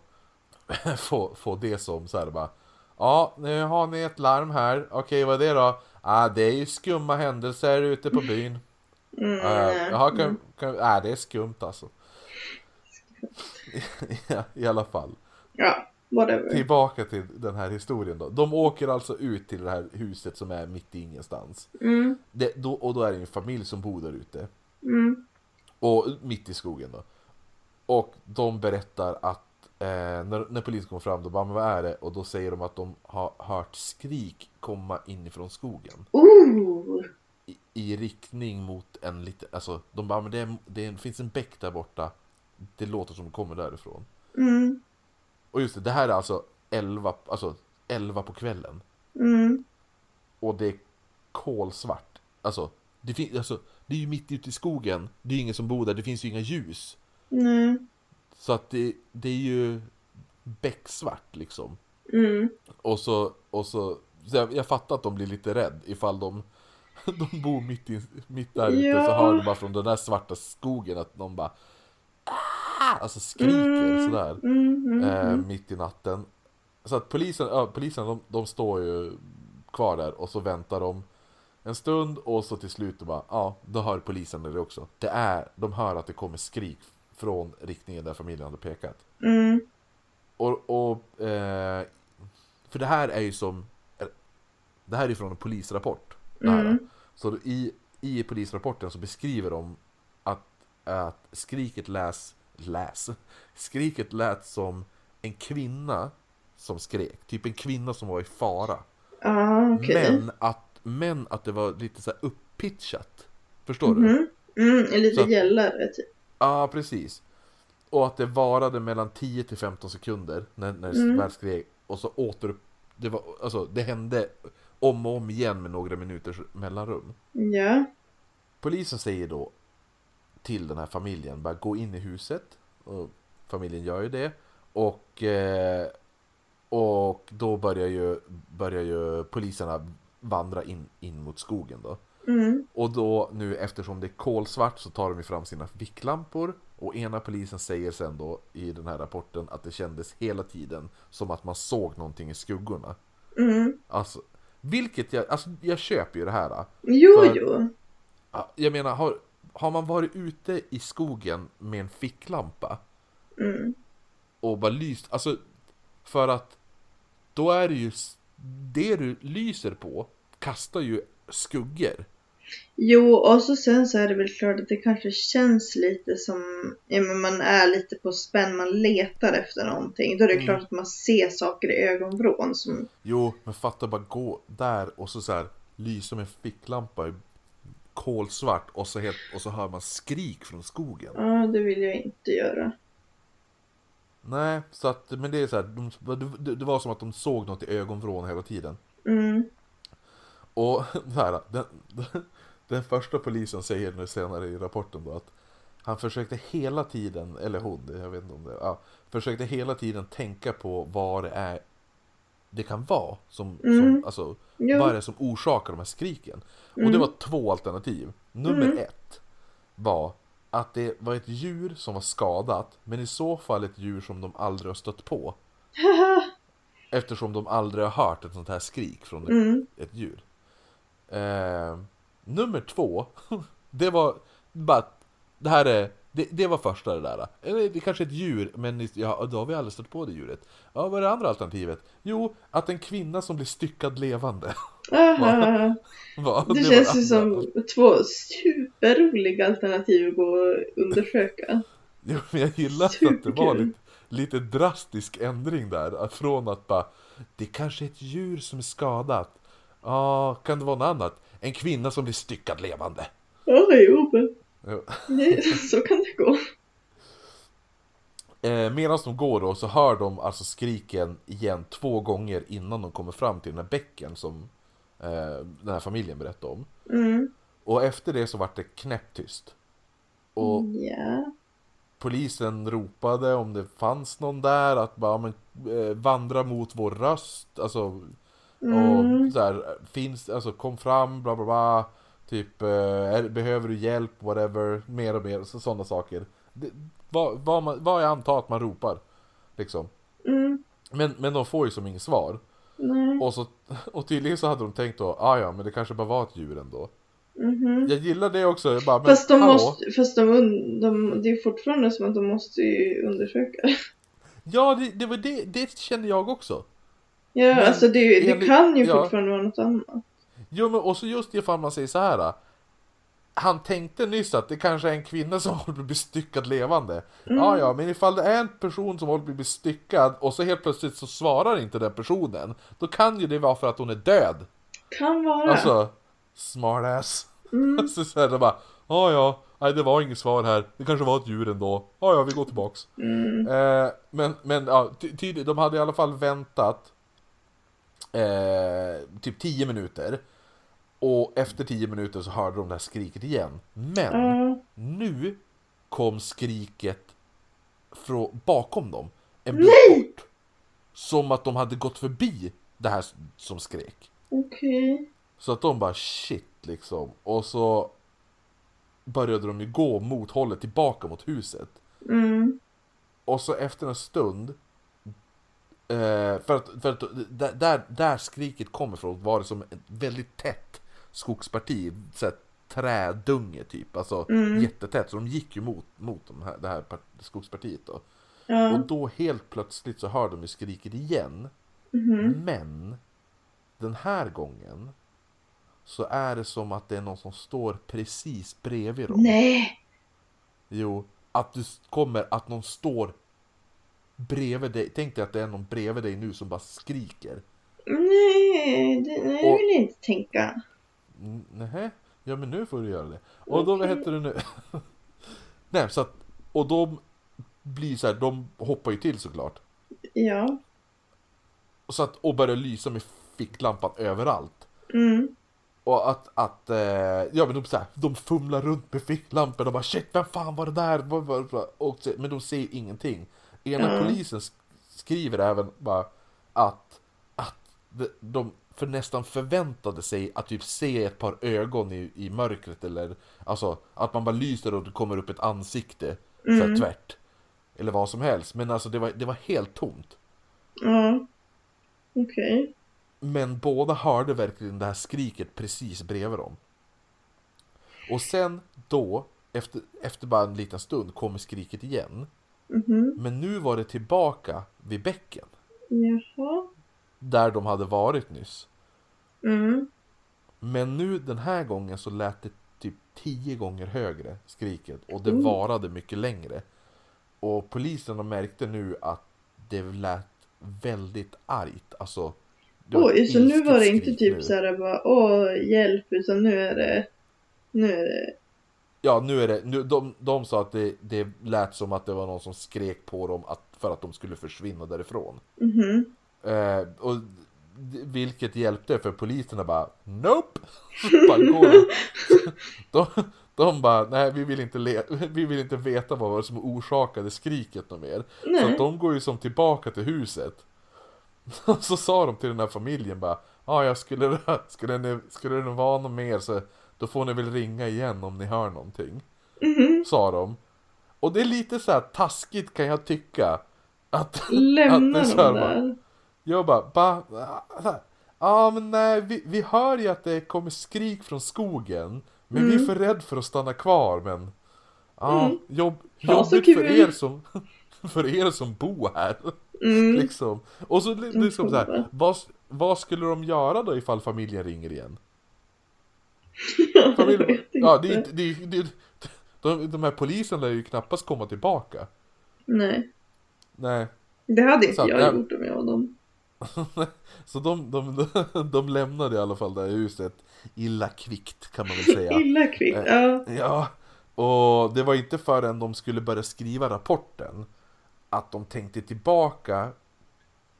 Speaker 2: [laughs] få, få det som så här bara Ja, nu har ni ett larm här. Okej, vad är det då? Ah, det är ju skumma händelser ute på byn.
Speaker 1: Mm,
Speaker 2: Mm.
Speaker 1: nej.
Speaker 2: Jaha, kan, kan, ah, det är skumt alltså. [laughs] ja, I alla fall.
Speaker 1: Ja, whatever.
Speaker 2: Tillbaka till den här historien då. De åker alltså ut till det här huset som är mitt i ingenstans.
Speaker 1: Mm,
Speaker 2: Det, då, och då är det en familj som bor där ute.
Speaker 1: mm,
Speaker 2: Och mitt i skogen då. Och de berättar att eh, när, när polisen kommer fram, då bara, men vad är det? Och då säger de att de har hört skrik komma inifrån skogen.
Speaker 1: Ooh.
Speaker 2: I, i riktning mot en liten, alltså de bara, men det, är, det är, en- finns en bäck där borta. Det låter som det kommer därifrån.
Speaker 1: Mm,
Speaker 2: Och just det, det här är alltså 11, alltså 11 på kvällen.
Speaker 1: mm,
Speaker 2: Och det är kolsvart. Alltså, det, fin- alltså, det är ju mitt ute i skogen. Det är ju ingen som bor där, det finns ju inga ljus.
Speaker 1: nej.
Speaker 2: Så att det, det är ju becksvart liksom.
Speaker 1: Mm,
Speaker 2: Och så, och så, så jag, jag fattar att de blir lite rädd ifall de, [laughs] de bor mitt, i, mitt där ute så
Speaker 1: Ja.
Speaker 2: hör de bara från den där svarta skogen att de bara "Ah!" Alltså skriker
Speaker 1: Mm.
Speaker 2: sådär
Speaker 1: mm, mm,
Speaker 2: eh,
Speaker 1: mm.
Speaker 2: mitt i natten. Så att polisen, ja, polisen de, de står ju kvar där och så väntar de en stund och så till slut de bara, ja, då hör polisen det också. Det är, de hör att det kommer skrik från riktningen där familjen hade pekat.
Speaker 1: Mm,
Speaker 2: Och, och eh, för det här är ju som, det här är från en polisrapport. Det här.
Speaker 1: Mm.
Speaker 2: Så i, i polisrapporten så beskriver de att, att skriket läs, läs, skriket lät som en kvinna som skrek, typ en kvinna som var i fara.
Speaker 1: ah, okej.
Speaker 2: Men, att, men att det var lite så här upppitchat. Förstår du?
Speaker 1: Mm, mm, är lite
Speaker 2: Så att-
Speaker 1: gällare typ.
Speaker 2: Ja, precis. Och att det varade mellan 10 till 15 sekunder när, när det
Speaker 1: Mm.
Speaker 2: väl skrek. Och så åter... Det, var, alltså, det hände om och om igen med några minuters mellanrum.
Speaker 1: Ja.
Speaker 2: Polisen säger då till den här familjen, bara gå in i huset. Och familjen gör ju det. Och, eh, och då börjar ju, börjar ju poliserna vandra in, in mot skogen då.
Speaker 1: Mm,
Speaker 2: Och då nu eftersom det är kolsvart så tar de ju fram sina ficklampor och ena polisen säger sen då i den här rapporten att det kändes hela tiden som att man såg någonting i skuggorna.
Speaker 1: mm.
Speaker 2: Alltså, vilket jag, alltså jag köper ju det här.
Speaker 1: Jo,
Speaker 2: För-
Speaker 1: jo.
Speaker 2: Ja, Jag menar, har, har man varit ute i skogen med en ficklampa
Speaker 1: Mm,
Speaker 2: och bara lyst, alltså för att då är det ju, s- det du lyser på kastar ju skuggor.
Speaker 1: jo, och så sen så är det väl klart att det kanske känns lite som, ja men man är lite på spänn, man letar efter någonting. Då är det
Speaker 2: Mm.
Speaker 1: klart att man ser saker i ögonvrån som,
Speaker 2: Jo, men fatta bara gå där och så, så här lysa med en ficklampa i kolsvart och så, helt, och så hör man skrik från skogen.
Speaker 1: ja det vill jag inte göra.
Speaker 2: Nej, så att, men det är så här, de, det, det var som att de såg något i ögonvrån hela tiden.
Speaker 1: Mm,
Speaker 2: Och [laughs] så här, den, den första polisen säger nu senare i rapporten då att han försökte hela tiden, eller hon, jag vet inte om det, ja, försökte hela tiden tänka på vad det är det kan vara som,
Speaker 1: Mm.
Speaker 2: som alltså,
Speaker 1: jo.
Speaker 2: Vad är det som orsakar de här skriken? Och det
Speaker 1: Mm.
Speaker 2: var två alternativ. Nummer
Speaker 1: Mm.
Speaker 2: ett var att det var ett djur som var skadat, men i så fall ett djur som de aldrig har stött på.
Speaker 1: [laughs]
Speaker 2: Eftersom de aldrig har hört ett sånt här skrik från ett,
Speaker 1: Mm.
Speaker 2: ett djur. Eh, nummer två, [laughs] det var bara, det här är, det, det var första det där. Eller det är kanske ett djur, men ja, då har vi aldrig stött på det djuret. Ja, vad är det andra alternativet? Jo, att en kvinna som blir styckad levande. [laughs]
Speaker 1: Ah,
Speaker 2: Vad?
Speaker 1: Det
Speaker 2: var
Speaker 1: känns ju
Speaker 2: andra.
Speaker 1: som två superroliga alternativ att gå och undersöka.
Speaker 2: Jo, men jag gillar att det var
Speaker 1: Superkul.
Speaker 2: lite, lite drastisk ändring där. Att Från att bara, det kanske är ett djur som är skadat. Ja, kan det vara något annat? En kvinna som blir styckad levande.
Speaker 1: Ja, jo, men
Speaker 2: Jo.
Speaker 1: det, [laughs] så kan det gå.
Speaker 2: Eh, Medan de går då så hör de alltså skriken igen två gånger innan de kommer fram till den här bäcken som eh, den här familjen berättade om.
Speaker 1: Mm.
Speaker 2: Och efter det så vart det knäpptyst. Och
Speaker 1: Mm. Ja.
Speaker 2: polisen ropade om det fanns någon där, att bara, men, eh, vandra mot vår röst, alltså,
Speaker 1: Mm.
Speaker 2: och så här, finns, alltså kom fram, bla bla bla, typ, eh, är, behöver du hjälp, whatever, mer och mer, så, sådana saker. Det, vad, vad, man, vad jag antar att man ropar, liksom.
Speaker 1: Mm.
Speaker 2: Men, men de får ju som inget svar.
Speaker 1: Nej.
Speaker 2: Och, så, [laughs] och tydligen så hade de tänkt då, ah, ja men det kanske bara var ett djur ändå.
Speaker 1: Mhm.
Speaker 2: Jag gillar det också, jag bara, men
Speaker 1: Fast, de
Speaker 2: hallå?
Speaker 1: måste, fast de, un- de, det är fortfarande som att de måste ju undersöka. [laughs]
Speaker 2: Ja, det, det var det, det kände jag också.
Speaker 1: Ja,
Speaker 2: Men
Speaker 1: alltså det, är ju- det
Speaker 2: enligt-
Speaker 1: kan ju
Speaker 2: ja.
Speaker 1: fortfarande vara något annat.
Speaker 2: Jo men och så just ifall man säger så här. äh, Han tänkte nyss att det kanske är en kvinna som [laughs] håller på att bli styckad levande.
Speaker 1: Mm.
Speaker 2: "Ah, Ja, ja, men ifall det är en person som håller på att bli styckad och så helt plötsligt så svarar inte den personen. Då kan ju det vara för att hon är död.
Speaker 1: Kan vara.
Speaker 2: Alltså, smartass.
Speaker 1: Mm.
Speaker 2: Alltså [laughs] så här, de bara, ja, ja, nej det var inget svar här. Det kanske var ett djur ändå. Ja, ja, vi går tillbaks.
Speaker 1: Mm.
Speaker 2: Eh, men men ja, ty- tydligt- de hade i alla fall väntat eh, typ 10 minuter. Och efter 10 minuter så hörde de det här skriket igen. Men
Speaker 1: Ja.
Speaker 2: nu kom skriket från bakom dem. En bit
Speaker 1: Nej!
Speaker 2: bort. Som att de hade gått förbi det här s- som skrek.
Speaker 1: Okej.
Speaker 2: Så att de bara shit liksom. Och så började de ju gå mot hållet tillbaka mot huset.
Speaker 1: Mm.
Speaker 2: Och så efter en stund eh, För att, för att där, där, där skriket kommer ifrån var det som ett väldigt tätt skogsparti så här, Trädunge typ, alltså
Speaker 1: Mm.
Speaker 2: jättetätt så de gick ju mot, mot de här, det här par- skogspartiet då
Speaker 1: Ja.
Speaker 2: Och då helt plötsligt så hör de ju skriket igen
Speaker 1: Mhm.
Speaker 2: Men Den här gången Så är det som att det är någon som står precis bredvid dem
Speaker 1: Nej.
Speaker 2: Jo, att du s- kommer att någon står bredvid dig. Tänk dig att det är någon bredvid dig nu som bara skriker.
Speaker 1: Nej, det, nej, det
Speaker 2: Och-
Speaker 1: vill jag inte tänka.
Speaker 2: N- Nähä? Ja men nu får du göra det. Och då, vad
Speaker 1: Okej.
Speaker 2: heter det nu? [laughs] Nej, så att, och de blir så här, de hoppar ju till såklart.
Speaker 1: Ja.
Speaker 2: Och Så att, och börjar lysa med ficklampan överallt.
Speaker 1: Mm.
Speaker 2: Och att, att eh, ja men de, så här, de fumlar runt med ficklamporna och bara shit, vem fan var det där? Vad- vad- vad?" Och, så- men de ser ju ingenting. Ena
Speaker 1: Ja.
Speaker 2: polisen sk- skriver även bara att, att de- de för nästan förväntade sig att typ se ett par ögon i, i mörkret eller alltså att man bara lyser och det kommer upp ett ansikte så här,
Speaker 1: Mm.
Speaker 2: tvärt. Eller vad som helst, men alltså det var, det var helt tomt.
Speaker 1: Ja. Okej.
Speaker 2: Men båda hörde verkligen det här skriket precis bredvid dem. Och sen då, efter, efter bara en liten stund, kommer skriket igen.
Speaker 1: Mhm.
Speaker 2: Men nu var det tillbaka vid bäcken,
Speaker 1: Jaha.
Speaker 2: där de hade varit nyss.
Speaker 1: Mm.
Speaker 2: Men nu den här gången så lät det typ tio gånger högre skriket och det
Speaker 1: Mm.
Speaker 2: varade mycket längre. Och polisen de märkte nu att det lät väldigt argt, alltså. det var ett
Speaker 1: Oj, så nu var det
Speaker 2: ilsket
Speaker 1: inte
Speaker 2: skrik
Speaker 1: typ
Speaker 2: nu.
Speaker 1: så här bara åh hjälp utan nu är det nu är det
Speaker 2: Ja, nu är det, nu, de, de sa att det, det lät som att det var någon som skrek på dem att, för att de skulle försvinna därifrån.
Speaker 1: mhm
Speaker 2: Eh, och, d- vilket hjälpte för poliserna bara Nope! [laughs] Så bara går de. [laughs] de, de bara, nej vi vill, inte le- vi vill inte veta vad det var som orsakade skriket något mer. Så
Speaker 1: nej
Speaker 2: att de går ju som tillbaka till huset. [laughs] Och så sa de till den här familjen bara, ah, ja skulle [laughs] det, skulle, det, skulle det vara något mer så då får ni väl ringa igen om ni hör någonting.
Speaker 1: Mhm.
Speaker 2: sa de. Och det är lite så här taskigt kan jag tycka. Att, [laughs]
Speaker 1: Lämna
Speaker 2: att det är så här
Speaker 1: dem
Speaker 2: bara-
Speaker 1: där.
Speaker 2: jag bara, ba, ja ah, men nej, vi, vi hör ju att det kommer skrik från skogen. Men vi är för rädd för att stanna kvar, men ah,
Speaker 1: Mm.
Speaker 2: jobb,
Speaker 1: Ja, så
Speaker 2: jobbigt
Speaker 1: kul.
Speaker 2: för er som [laughs] för er som bor här.
Speaker 1: Mm.
Speaker 2: [laughs] Liksom. Och så li- liksom så här, vad, vad skulle de göra då ifall familjen ringer igen? [laughs]
Speaker 1: [laughs] Jag
Speaker 2: Familjen,
Speaker 1: vet
Speaker 2: ja,
Speaker 1: inte.
Speaker 2: det, är inte- det, är- det, är- de, de här polisen lär ju knappast komma tillbaka.
Speaker 1: Nej,
Speaker 2: Nej.
Speaker 1: det hade inte
Speaker 2: Så att
Speaker 1: jag
Speaker 2: jag-
Speaker 1: gjort om jag var dem.
Speaker 2: Så de, de, [laughs] de lämnade i alla fall det här huset illa kvickt kan man väl
Speaker 1: [laughs]
Speaker 2: säga.
Speaker 1: Illa kvickt.
Speaker 2: Eh.
Speaker 1: Ja.
Speaker 2: Ja, och det var inte förrän de skulle börja skriva rapporten att de tänkte tillbaka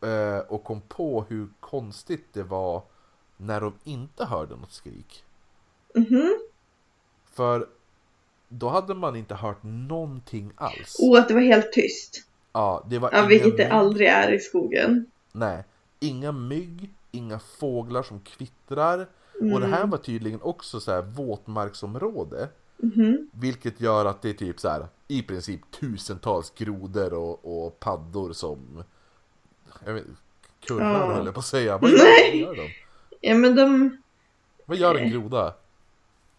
Speaker 2: eh, och kom på hur konstigt det var när de inte hörde något skrik.
Speaker 1: Mhm.
Speaker 2: För då hade man inte hört någonting alls.
Speaker 1: Och att det var helt tyst.
Speaker 2: Mm, Ja, det var
Speaker 1: Ja,
Speaker 2: inga
Speaker 1: vilket det
Speaker 2: mygg-
Speaker 1: aldrig är i skogen.
Speaker 2: Nej, inga mygg, inga fåglar som kvittrar.
Speaker 1: Mm.
Speaker 2: Och det här var tydligen också så här våtmarksområde.
Speaker 1: Mhm.
Speaker 2: Vilket gör att det är typ så här i princip tusentals grodor och, och paddor som jag vet, kurrar
Speaker 1: Ja.
Speaker 2: höll jag på att säga. Vad gör, vad gör de?
Speaker 1: Ja, men de
Speaker 2: Vad gör en groda?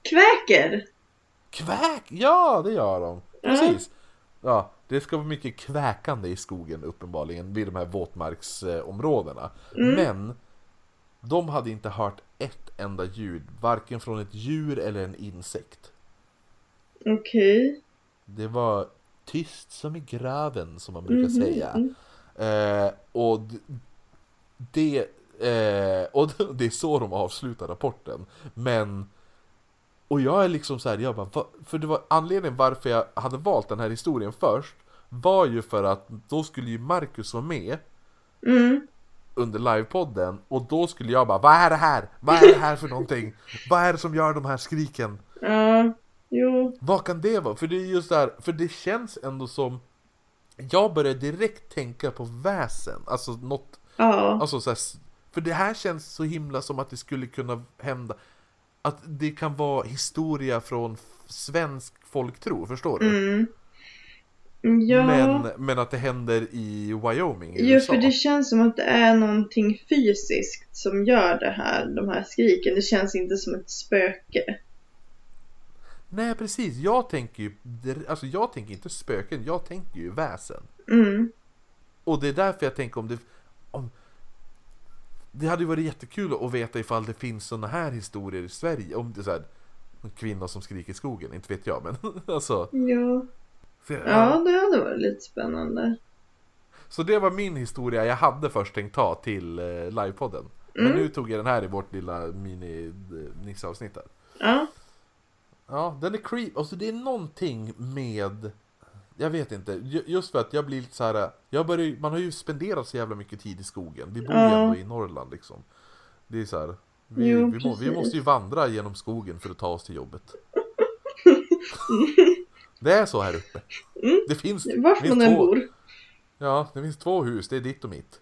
Speaker 1: kväker.
Speaker 2: Kväk! Ja, det gör de!
Speaker 1: Ja.
Speaker 2: Precis! Ja, det ska vara mycket kväkande i skogen uppenbarligen vid de här våtmarksområdena.
Speaker 1: Mm.
Speaker 2: Men de hade inte hört ett enda ljud, varken från ett djur eller en insekt.
Speaker 1: Okej.
Speaker 2: Det var tyst som i graven som man brukar
Speaker 1: Mhm.
Speaker 2: säga. Eh, och d- det, eh, och [laughs] det är så de avslutar rapporten. Men, och jag är liksom så här, jag bara, "Va?" för det var anledningen varför jag hade valt den här historien först var ju för att då skulle ju Marcus vara med
Speaker 1: Mm.
Speaker 2: under livepodden och då skulle jag bara, vad är det här? Vad är det här för någonting? Vad är det som gör de här skriken?
Speaker 1: Ja, jo.
Speaker 2: Vad kan det vara? För det är just det här, för det känns ändå som jag börjar direkt tänka på väsen, alltså något
Speaker 1: Ja.
Speaker 2: Alltså så här, för det här känns så himla som att det skulle kunna hända Att det kan vara historia från f- svensk folktro, förstår du?
Speaker 1: Mm. Ja.
Speaker 2: Men, men att det händer i Wyoming i
Speaker 1: Jo,
Speaker 2: USA
Speaker 1: för det känns som att det är någonting fysiskt som gör det här, de här skriken. Det känns inte som ett spöke.
Speaker 2: Nej precis, jag tänker ju Alltså jag tänker inte spöken, jag tänker ju väsen
Speaker 1: Mm.
Speaker 2: Och det är därför jag tänker om det om, Det hade ju varit jättekul att veta ifall det finns såna här historier i Sverige Om det är så här, en kvinna som skriker i skogen, inte vet jag men [laughs] alltså
Speaker 1: Ja.
Speaker 2: så jag-
Speaker 1: ja, det hade varit lite spännande.
Speaker 2: Så det var min historia jag hade först tänkt ta till eh, livepodden. Men
Speaker 1: Mm.
Speaker 2: nu tog jag den här i vårt lilla eh, mini-nisse-avsnitt där.
Speaker 1: Ja.
Speaker 2: Ja, den är creep. Alltså det är någonting med... Jag vet inte. Ju- Just för att jag blir lite så här... Jag börjar, ju- man har ju spenderat så jävla mycket tid i skogen. Vi bor ju
Speaker 1: Ja.
Speaker 2: ändå i Norrland liksom. Det är så här... Vi,
Speaker 1: Jo,
Speaker 2: vi, må, vi
Speaker 1: precis.
Speaker 2: måste ju vandra genom skogen för att ta oss till jobbet.
Speaker 1: [laughs]
Speaker 2: det är så här uppe.
Speaker 1: Mm.
Speaker 2: Det finns,
Speaker 1: Vart
Speaker 2: finns
Speaker 1: man än
Speaker 2: två-
Speaker 1: bor.
Speaker 2: Ja, det finns två hus. Det är ditt och mitt.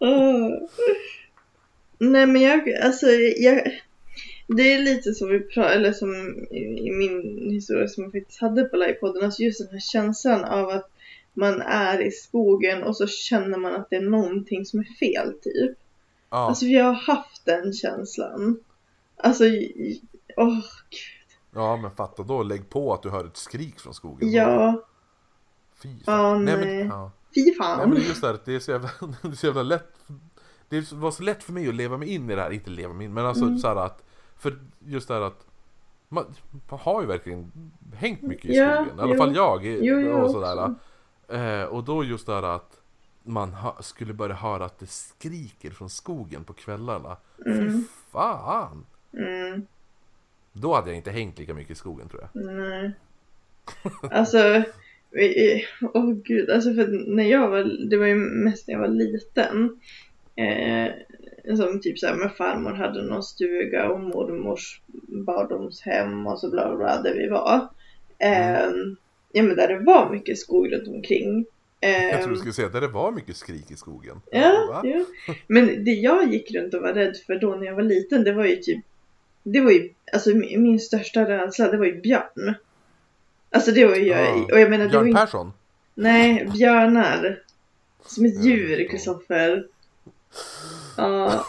Speaker 1: Ah. Nej men jag, alltså jag, det är lite som vi pra- eller som i i min historia som jag faktiskt hade på livepodden, alltså just den här känslan av att man är i skogen och så känner man att det är någonting som är fel typ.
Speaker 2: Ja.
Speaker 1: Alltså jag har haft den känslan. Alltså, j- åh,
Speaker 2: Ja men fatta då, lägg på att du hör ett skrik från skogen.
Speaker 1: ja,
Speaker 2: Fy fan.
Speaker 1: Ja, nej.
Speaker 2: Men, ja.
Speaker 1: fy
Speaker 2: nej men
Speaker 1: fan.
Speaker 2: det är just det här, att det är så jävla, [laughs] det är så jävla lätt. Det är så- var så lätt för mig att leva mig in i det här, inte leva mig in, men alltså
Speaker 1: Mm.
Speaker 2: så här att. För just det här att. Man, man har ju verkligen hängt mycket i
Speaker 1: Ja,
Speaker 2: skogen, i alla
Speaker 1: jo.
Speaker 2: fall jag. i-
Speaker 1: Jo, jag
Speaker 2: och,
Speaker 1: också.
Speaker 2: sådär. Eh, och då just det här att man hö- skulle börja höra att det skriker från skogen på kvällarna. Fy
Speaker 1: Mm.
Speaker 2: fan!
Speaker 1: Mm,
Speaker 2: Då hade jag inte hängt lika mycket i skogen tror jag.
Speaker 1: nej. Alltså, vi- åh gud, alltså för när jag var, det var ju mest när jag var liten. Eh, som typ såhär, men farmor hade någon stuga och mormors barndomshem och så bla bla bla där vi
Speaker 2: Mm.
Speaker 1: var. Eh, Ja men där det var mycket skog runt omkring. Eh,
Speaker 2: Jag tror du skulle säga att det var mycket skrik i skogen.
Speaker 1: Ja,
Speaker 2: Va?
Speaker 1: ja. Men det jag gick runt och var rädd för då när jag var liten, det var ju typ det var ju, alltså min min största rädsla, det var ju björn. Alltså det var ju,
Speaker 2: Ja.
Speaker 1: och jag menar, det var ju,
Speaker 2: Björn
Speaker 1: inte-
Speaker 2: Persson?
Speaker 1: nej, björnar. Som ett djur,
Speaker 2: Ja.
Speaker 1: Kristoffer. Ja,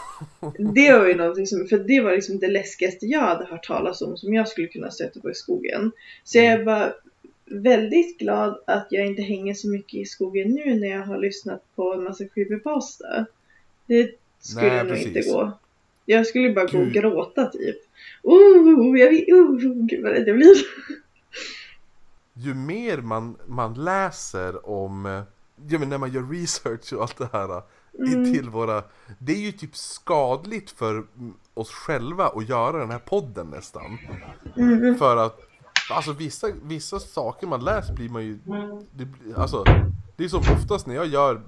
Speaker 1: det var ju någonting som, för det var liksom det läskigaste jag hade hört talas om som jag skulle kunna stöta på i skogen. Så jag är
Speaker 2: Mm.
Speaker 1: bara väldigt glad att jag inte hänger så mycket i skogen nu när jag har lyssnat på en massa creepypasta. Det skulle
Speaker 2: Nej,
Speaker 1: nog inte
Speaker 2: precis.
Speaker 1: gå. Jag skulle bara gå och
Speaker 2: Du-
Speaker 1: gråta typ. Oh, jag vill, oh, gud vad rädd jag blir.
Speaker 2: ju mer man, man läser om, eh, ja men när man gör research och allt det här eh,
Speaker 1: Mm.
Speaker 2: till våra, det är ju typ skadligt för mm, oss själva att göra den här podden nästan.
Speaker 1: Mm.
Speaker 2: För att, alltså vissa, vissa saker man läser blir man ju, det, blir- alltså det är som oftast när jag gör,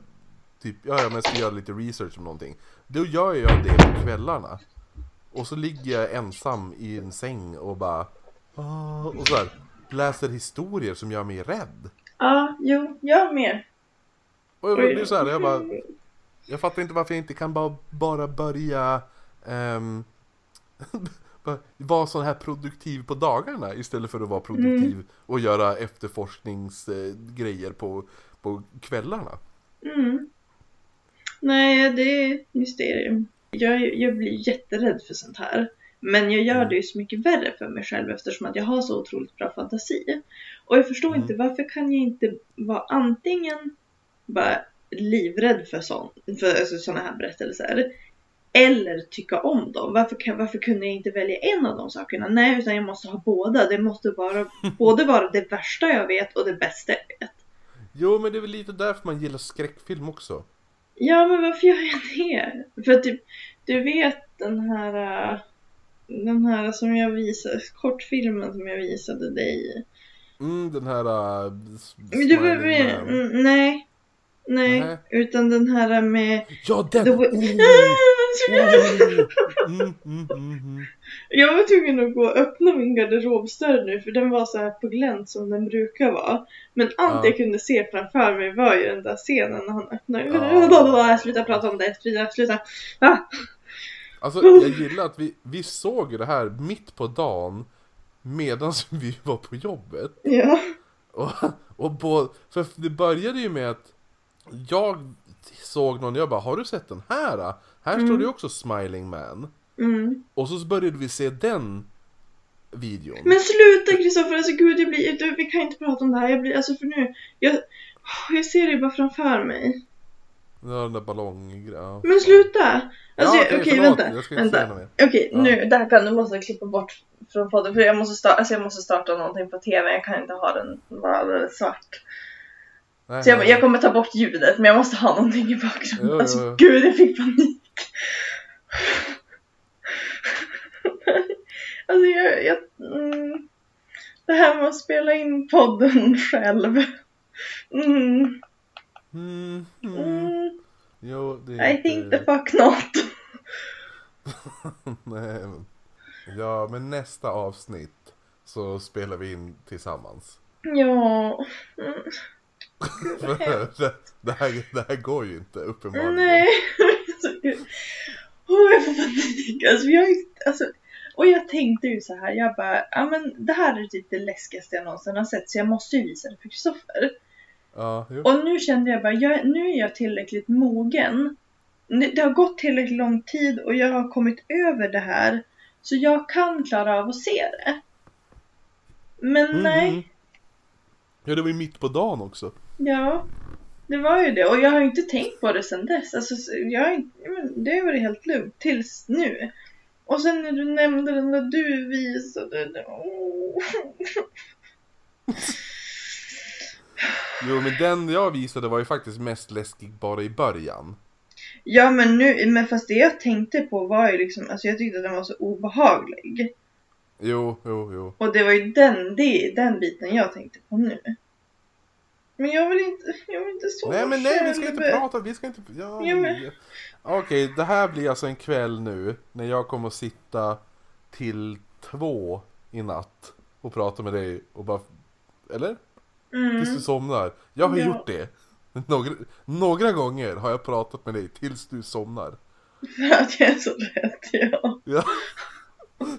Speaker 2: typ, ja jag ska göra lite research om någonting, då gör jag det på kvällarna. Och så ligger jag ensam i en säng och bara, "Ah", och så här, läser historier som gör mig rädd.
Speaker 1: Ja, jo, jag med.
Speaker 2: Och jag blir så här, jag bara, jag fattar inte varför jag inte kan bara, bara börja ehm, [laughs] bara vara sån här produktiv på dagarna istället för att vara produktiv och göra efterforskningsgrejer på, på kvällarna.
Speaker 1: Mm. Nej, det är ett mysterium. Jag, jag blir jätterädd för sånt här. Men jag gör det ju så mycket värre för mig själv eftersom att jag har så otroligt bra fantasi. Och jag förstår
Speaker 2: Mm.
Speaker 1: inte varför kan jag inte vara antingen bara livrädd för sådana för, alltså, såna här berättelser. Eller tycka om dem. Varför, kan, varför kunde jag inte välja en av de sakerna? Nej, utan jag måste ha båda. Det måste vara, både vara det värsta jag vet och det bästa jag vet.
Speaker 2: Jo, men det är väl lite därför man gillar skräckfilm också.
Speaker 1: Ja, men varför gör jag det? För att typ, du vet den här, äh, den här som jag visade, kortfilmen som jag visade dig.
Speaker 2: Mm, den här... Uh,
Speaker 1: Men du behöver, mm, nej, nej,
Speaker 2: Nähä.
Speaker 1: utan den här äh, med,
Speaker 2: Ja, den!
Speaker 1: The
Speaker 2: Oh,
Speaker 1: [laughs] Wi-
Speaker 2: mm, mm, mm, mm.
Speaker 1: jag var tvungen att gå och öppna min garderobsdörr nu för den var så här på glänt som den brukar vara. Men allt
Speaker 2: Ja.
Speaker 1: jag kunde se framför mig var ju den där scenen när han öppnade. [laughs]
Speaker 2: Ja.
Speaker 1: Sluta prata om det, Frida, sluta. Ah.
Speaker 2: Alltså jag gillar att vi, vi såg ju det här mitt på dagen medan [laughs] vi var på jobbet.
Speaker 1: Ja.
Speaker 2: Och, och på, för det började ju med att jag såg någon och jag bara har du sett den här? Här står det ju också Smiling Man.
Speaker 1: Mm.
Speaker 2: Och så började vi se den videon.
Speaker 1: Men sluta Kristoffer, alltså gud jag blir, du, vi kan inte prata om det här, jag blir, alltså för nu, jag, jag ser det bara framför mig.
Speaker 2: Ja, Den där ballonggrejen.
Speaker 1: Men sluta! Alltså,
Speaker 2: Ja,
Speaker 1: jag-
Speaker 2: okej,
Speaker 1: okej
Speaker 2: förlåt.
Speaker 1: vänta,
Speaker 2: Jag ska inte säga
Speaker 1: vänta.
Speaker 2: något mer.
Speaker 1: Okej
Speaker 2: Ja.
Speaker 1: nu, det här kan du måste klippa bort från podden för jag måste, sta- alltså, jag måste starta någonting på TV, jag kan inte ha den bara alldeles svart.
Speaker 2: Nej,
Speaker 1: Så jag,
Speaker 2: nej.
Speaker 1: jag kommer ta bort ljudet men jag måste ha någonting i
Speaker 2: Jo,
Speaker 1: bakgrunden.
Speaker 2: jo,
Speaker 1: Alltså
Speaker 2: jo.
Speaker 1: gud jag fick panik. alltså jag, jag mm, det här med att spela in podden själv. Mm,
Speaker 2: Mm, mm.
Speaker 1: mm,
Speaker 2: Jo, det eh, är
Speaker 1: I think the fuck not.
Speaker 2: [laughs] Nej, men... Ja, men nästa avsnitt så spelar vi in tillsammans. [laughs]
Speaker 1: Ja. Mm,
Speaker 2: För det, det, här, det här går ju inte uppenbarligen.
Speaker 1: nej. alltså, gud. Åh, jag får panik. Alltså, jag, alltså, och jag tänkte ju så här, jag bara, ja men det här är typ det läskigaste jag någonsin har sett så jag måste ju visa det för Kristoffer.
Speaker 2: Ja, jo.
Speaker 1: Och nu kände jag bara, jag, nu är jag tillräckligt mogen. Nu- Det har gått tillräckligt lång tid och jag har kommit över det här. Så jag kan klara av att se det. Men
Speaker 2: Mm, mm.
Speaker 1: nej,
Speaker 2: Ja, det var ju mitt på dagen också.
Speaker 1: ja. Det var ju det. Och jag har ju inte tänkt på det sedan dess. Alltså, så- jag har inte, ja, men det har varit helt lugnt tills nu. Och sen när du nämnde den där du visade. det- [laughs] Åh.
Speaker 2: Jo, men den jag visade var ju faktiskt mest läskig bara i början.
Speaker 1: Ja men nu, men fast det jag tänkte på var ju liksom, alltså jag tyckte att den var så obehaglig.
Speaker 2: Jo, jo, jo.
Speaker 1: Och det var ju den, det, den biten jag tänkte på nu. Men jag vill inte, jag vill inte sova
Speaker 2: nej, men nej, vi ska
Speaker 1: själv.
Speaker 2: inte prata, vi ska inte... Ja,
Speaker 1: Ja, men-
Speaker 2: Okej, det här blir alltså en kväll nu när jag kommer att sitta till två i natt och prata med dig och bara... Eller? Tills
Speaker 1: Mm.
Speaker 2: du somnar. Jag har
Speaker 1: Ja.
Speaker 2: gjort det. Några, några gånger har jag pratat med dig tills du somnar.
Speaker 1: [laughs] För att jag är så rädd, ja.
Speaker 2: Ja.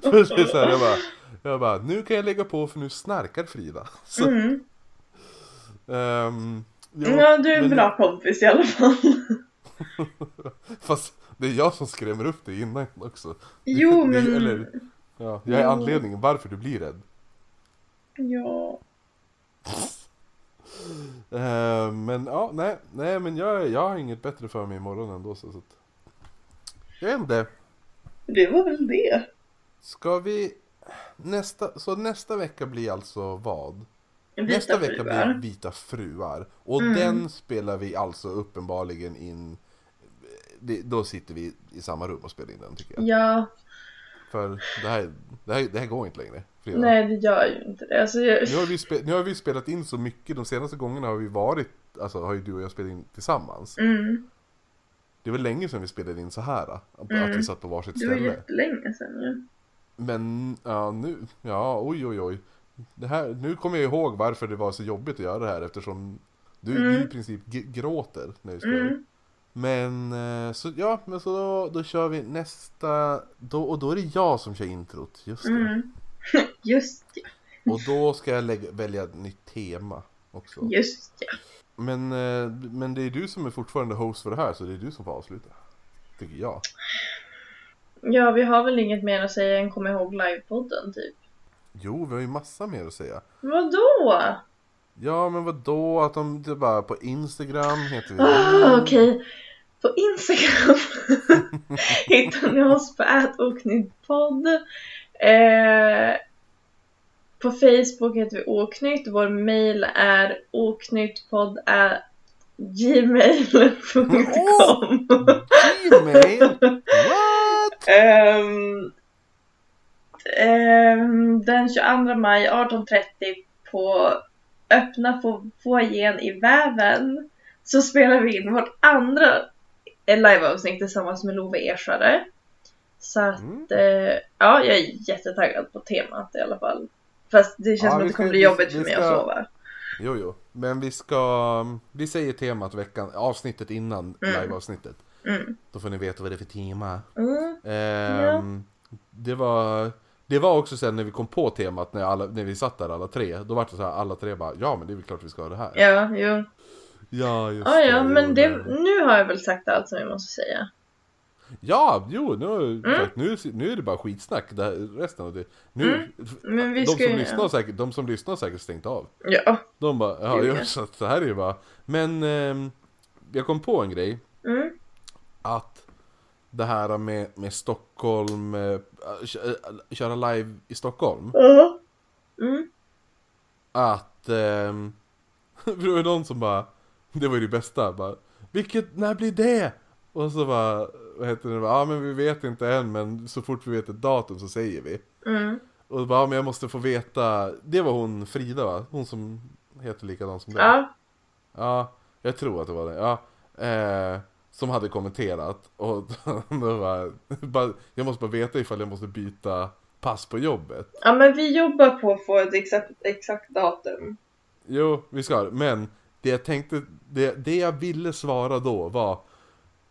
Speaker 2: För så här, jag, bara, jag bara, nu kan jag lägga på för nu snarkar Frida. Så,
Speaker 1: Mm.
Speaker 2: ehm, jo,
Speaker 1: Ja, du är en
Speaker 2: men-
Speaker 1: bra kompis i alla
Speaker 2: [laughs]
Speaker 1: fall.
Speaker 2: Fast det är jag som skrämmer upp dig innan också. [laughs]
Speaker 1: Jo,
Speaker 2: Det är-
Speaker 1: men...
Speaker 2: Eller, ja, jag är
Speaker 1: Jo.
Speaker 2: anledningen varför du blir rädd.
Speaker 1: Ja.
Speaker 2: Eh, men ja, nej, nej men jag, jag har inget bättre för mig imorgon ändå så, så att... Jag vet inte.
Speaker 1: Det var väl det.
Speaker 2: Ska vi... Nästa, så nästa vecka blir alltså vad?
Speaker 1: Vita
Speaker 2: Nästa vecka
Speaker 1: fruar.
Speaker 2: blir Vita fruar. Och
Speaker 1: Mm.
Speaker 2: den spelar vi alltså uppenbarligen in... Det, då sitter vi i samma rum och spelar in den tycker jag.
Speaker 1: Ja,
Speaker 2: För det här, det här, det här går inte längre. Frida.
Speaker 1: nej det gör ju inte det. Alltså, jag...
Speaker 2: Nu har, vi spe, nu har vi spelat in så mycket, de senaste gångerna har vi varit, alltså har ju du och jag spelat in tillsammans.
Speaker 1: mm.
Speaker 2: Det var länge sedan vi spelade in så här. Att,
Speaker 1: Mm.
Speaker 2: att vi satt på varsitt
Speaker 1: Det var
Speaker 2: ställe.
Speaker 1: jättelänge sedan ju.
Speaker 2: Men ja, nu, ja oj oj oj. Det här, nu kommer jag ihåg varför det var så jobbigt att göra det här eftersom du, du i
Speaker 1: Mm.
Speaker 2: princip g- gråter när du spelar.
Speaker 1: Mm.
Speaker 2: Men eh, så ja, men så då, då kör vi nästa, då, och då är det jag som kör introt, just det.
Speaker 1: Mm. [laughs] Just ja,
Speaker 2: Och då ska jag lägga, välja ett nytt tema också.
Speaker 1: just ja.
Speaker 2: Men, eh, men det är du som är fortfarande host för det här så det är du som får avsluta. Tycker jag.
Speaker 1: Ja, vi har väl inget mer att säga än kom ihåg livepodden typ.
Speaker 2: Jo, vi har ju massa mer att säga.
Speaker 1: Vadå?
Speaker 2: Ja, men vad då att de det är bara på Instagram heter vi...
Speaker 1: Ah, Okej, på Instagram [laughs] hittar ni oss på @oknyttpodd. Eh, på Facebook heter vi Åknytt. Vår mail är åknyttpodd@gmail.com.
Speaker 2: Gmail? What?
Speaker 1: Ehm, ehm, den 22 maj 18.30 på öppna fo- foajén i Väven så spelar vi in vårt andra eh, liveavsnitt tillsammans med Love Ersare. Så att,
Speaker 2: Mm.
Speaker 1: eh, ja, jag är jättetaggad på temat i alla fall. Fast det känns
Speaker 2: Ja,
Speaker 1: som
Speaker 2: vi
Speaker 1: att det
Speaker 2: ska-
Speaker 1: kommer bli
Speaker 2: vi-
Speaker 1: jobbigt
Speaker 2: vi
Speaker 1: för mig
Speaker 2: ska-
Speaker 1: att sova.
Speaker 2: Jo, jo. Men vi ska... Vi säger temat veckan, avsnittet innan
Speaker 1: Mm.
Speaker 2: liveavsnittet.
Speaker 1: Mm.
Speaker 2: Då får ni veta vad det är för tema.
Speaker 1: Mm.
Speaker 2: Ehm, Det var... Det var också sen när vi kom på temat, när, alla, när vi satt där alla tre, då var det så här, alla tre bara ja men det är väl klart vi ska ha det här.
Speaker 1: Ja, jo.
Speaker 2: Ja, just
Speaker 1: Ah, ja,
Speaker 2: jo,
Speaker 1: men det,
Speaker 2: men-
Speaker 1: nu har jag väl sagt allt som jag måste säga.
Speaker 2: Ja, jo, nu, har jag
Speaker 1: Mm.
Speaker 2: sagt, nu, nu är det bara skitsnack det här, resten av det. Nu,
Speaker 1: Mm. Men vi
Speaker 2: de,
Speaker 1: ska
Speaker 2: som
Speaker 1: ju-
Speaker 2: lyssnar har säkert, de som lyssnar har säkert stängt av.
Speaker 1: Ja.
Speaker 2: De bara, ja,
Speaker 1: Gud,
Speaker 2: jag,
Speaker 1: ja.
Speaker 2: så att det här är ju bara... Men ehm, jag kom på en grej,
Speaker 1: Mm.
Speaker 2: att det här med, med Stockholm, eh, kö- eh, köra live i Stockholm,
Speaker 1: Ja. Mm.
Speaker 2: att... ehm, [laughs] för det var ju någon som bara, det var ju det bästa, bara, vilket, när blir det? Och så bara, vad heter det, ja men vi vet inte än, men så fort vi vet ett datum så säger vi.
Speaker 1: Mm.
Speaker 2: Och bara, ja, men jag måste få veta, det var hon Frida va? Hon som heter likadant som dig?
Speaker 1: Ja.
Speaker 2: Ja, jag tror att det var det. Ja, eh, som hade kommenterat och [laughs] då var, bara, jag måste bara veta ifall jag måste byta pass på jobbet.
Speaker 1: ja, men vi jobbar på att få ett exakt, exakt datum.
Speaker 2: Jo, vi ska ha det. Men det jag tänkte, det, det jag ville svara då var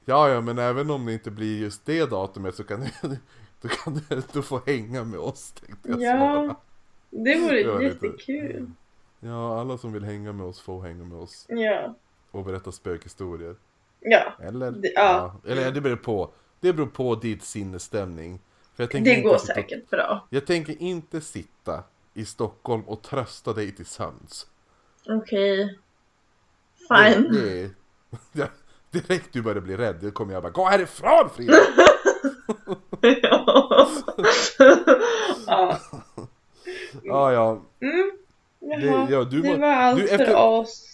Speaker 2: Ja, ja, men även om det inte blir just det datumet så kan du, [laughs] då kan du, du få hänga med oss, tänkte jag svara.
Speaker 1: Ja, det vore
Speaker 2: Det var lite-
Speaker 1: jättekul.
Speaker 2: Ja, alla som vill hänga med oss får hänga med oss
Speaker 1: Ja,
Speaker 2: och berätta spökhistorier.
Speaker 1: ja.
Speaker 2: Eller?
Speaker 1: Det- ja.
Speaker 2: Eller det beror på. Det beror på ditt sinnesstämning. För jag tänker
Speaker 1: det
Speaker 2: inte
Speaker 1: går
Speaker 2: sitta-
Speaker 1: säkert bra.
Speaker 2: Jag tänker inte sitta i Stockholm och trösta dig till sömns. Mm.
Speaker 1: Okej.
Speaker 2: Det, [laughs]
Speaker 1: Fine. [laughs]
Speaker 2: det, är- Ja, direkt du börjar bli rädd, då kommer jag bara Gå härifrån
Speaker 1: [laughs]
Speaker 2: Frida!
Speaker 1: ja. ja.
Speaker 2: ja, ja.
Speaker 1: Mm. Jaha.
Speaker 2: Det- ja, du
Speaker 1: det
Speaker 2: må-
Speaker 1: var allt
Speaker 2: du,
Speaker 1: för
Speaker 2: efter-
Speaker 1: oss.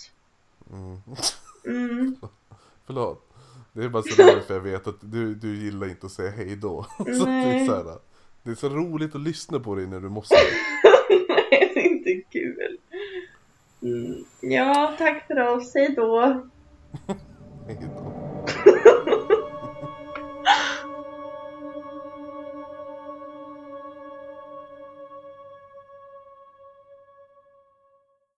Speaker 2: Mm.
Speaker 1: Mm. [laughs]
Speaker 2: Förlåt. Det är bara så roligt för jag vet att du, du gillar inte att säga hej då. [laughs] Så att det, är
Speaker 1: Nej.
Speaker 2: så här, det är så roligt att lyssna på dig när du måste.
Speaker 1: Nej, det är inte kul. Mm. Ja, tack för oss. Hej då.
Speaker 2: Hej då.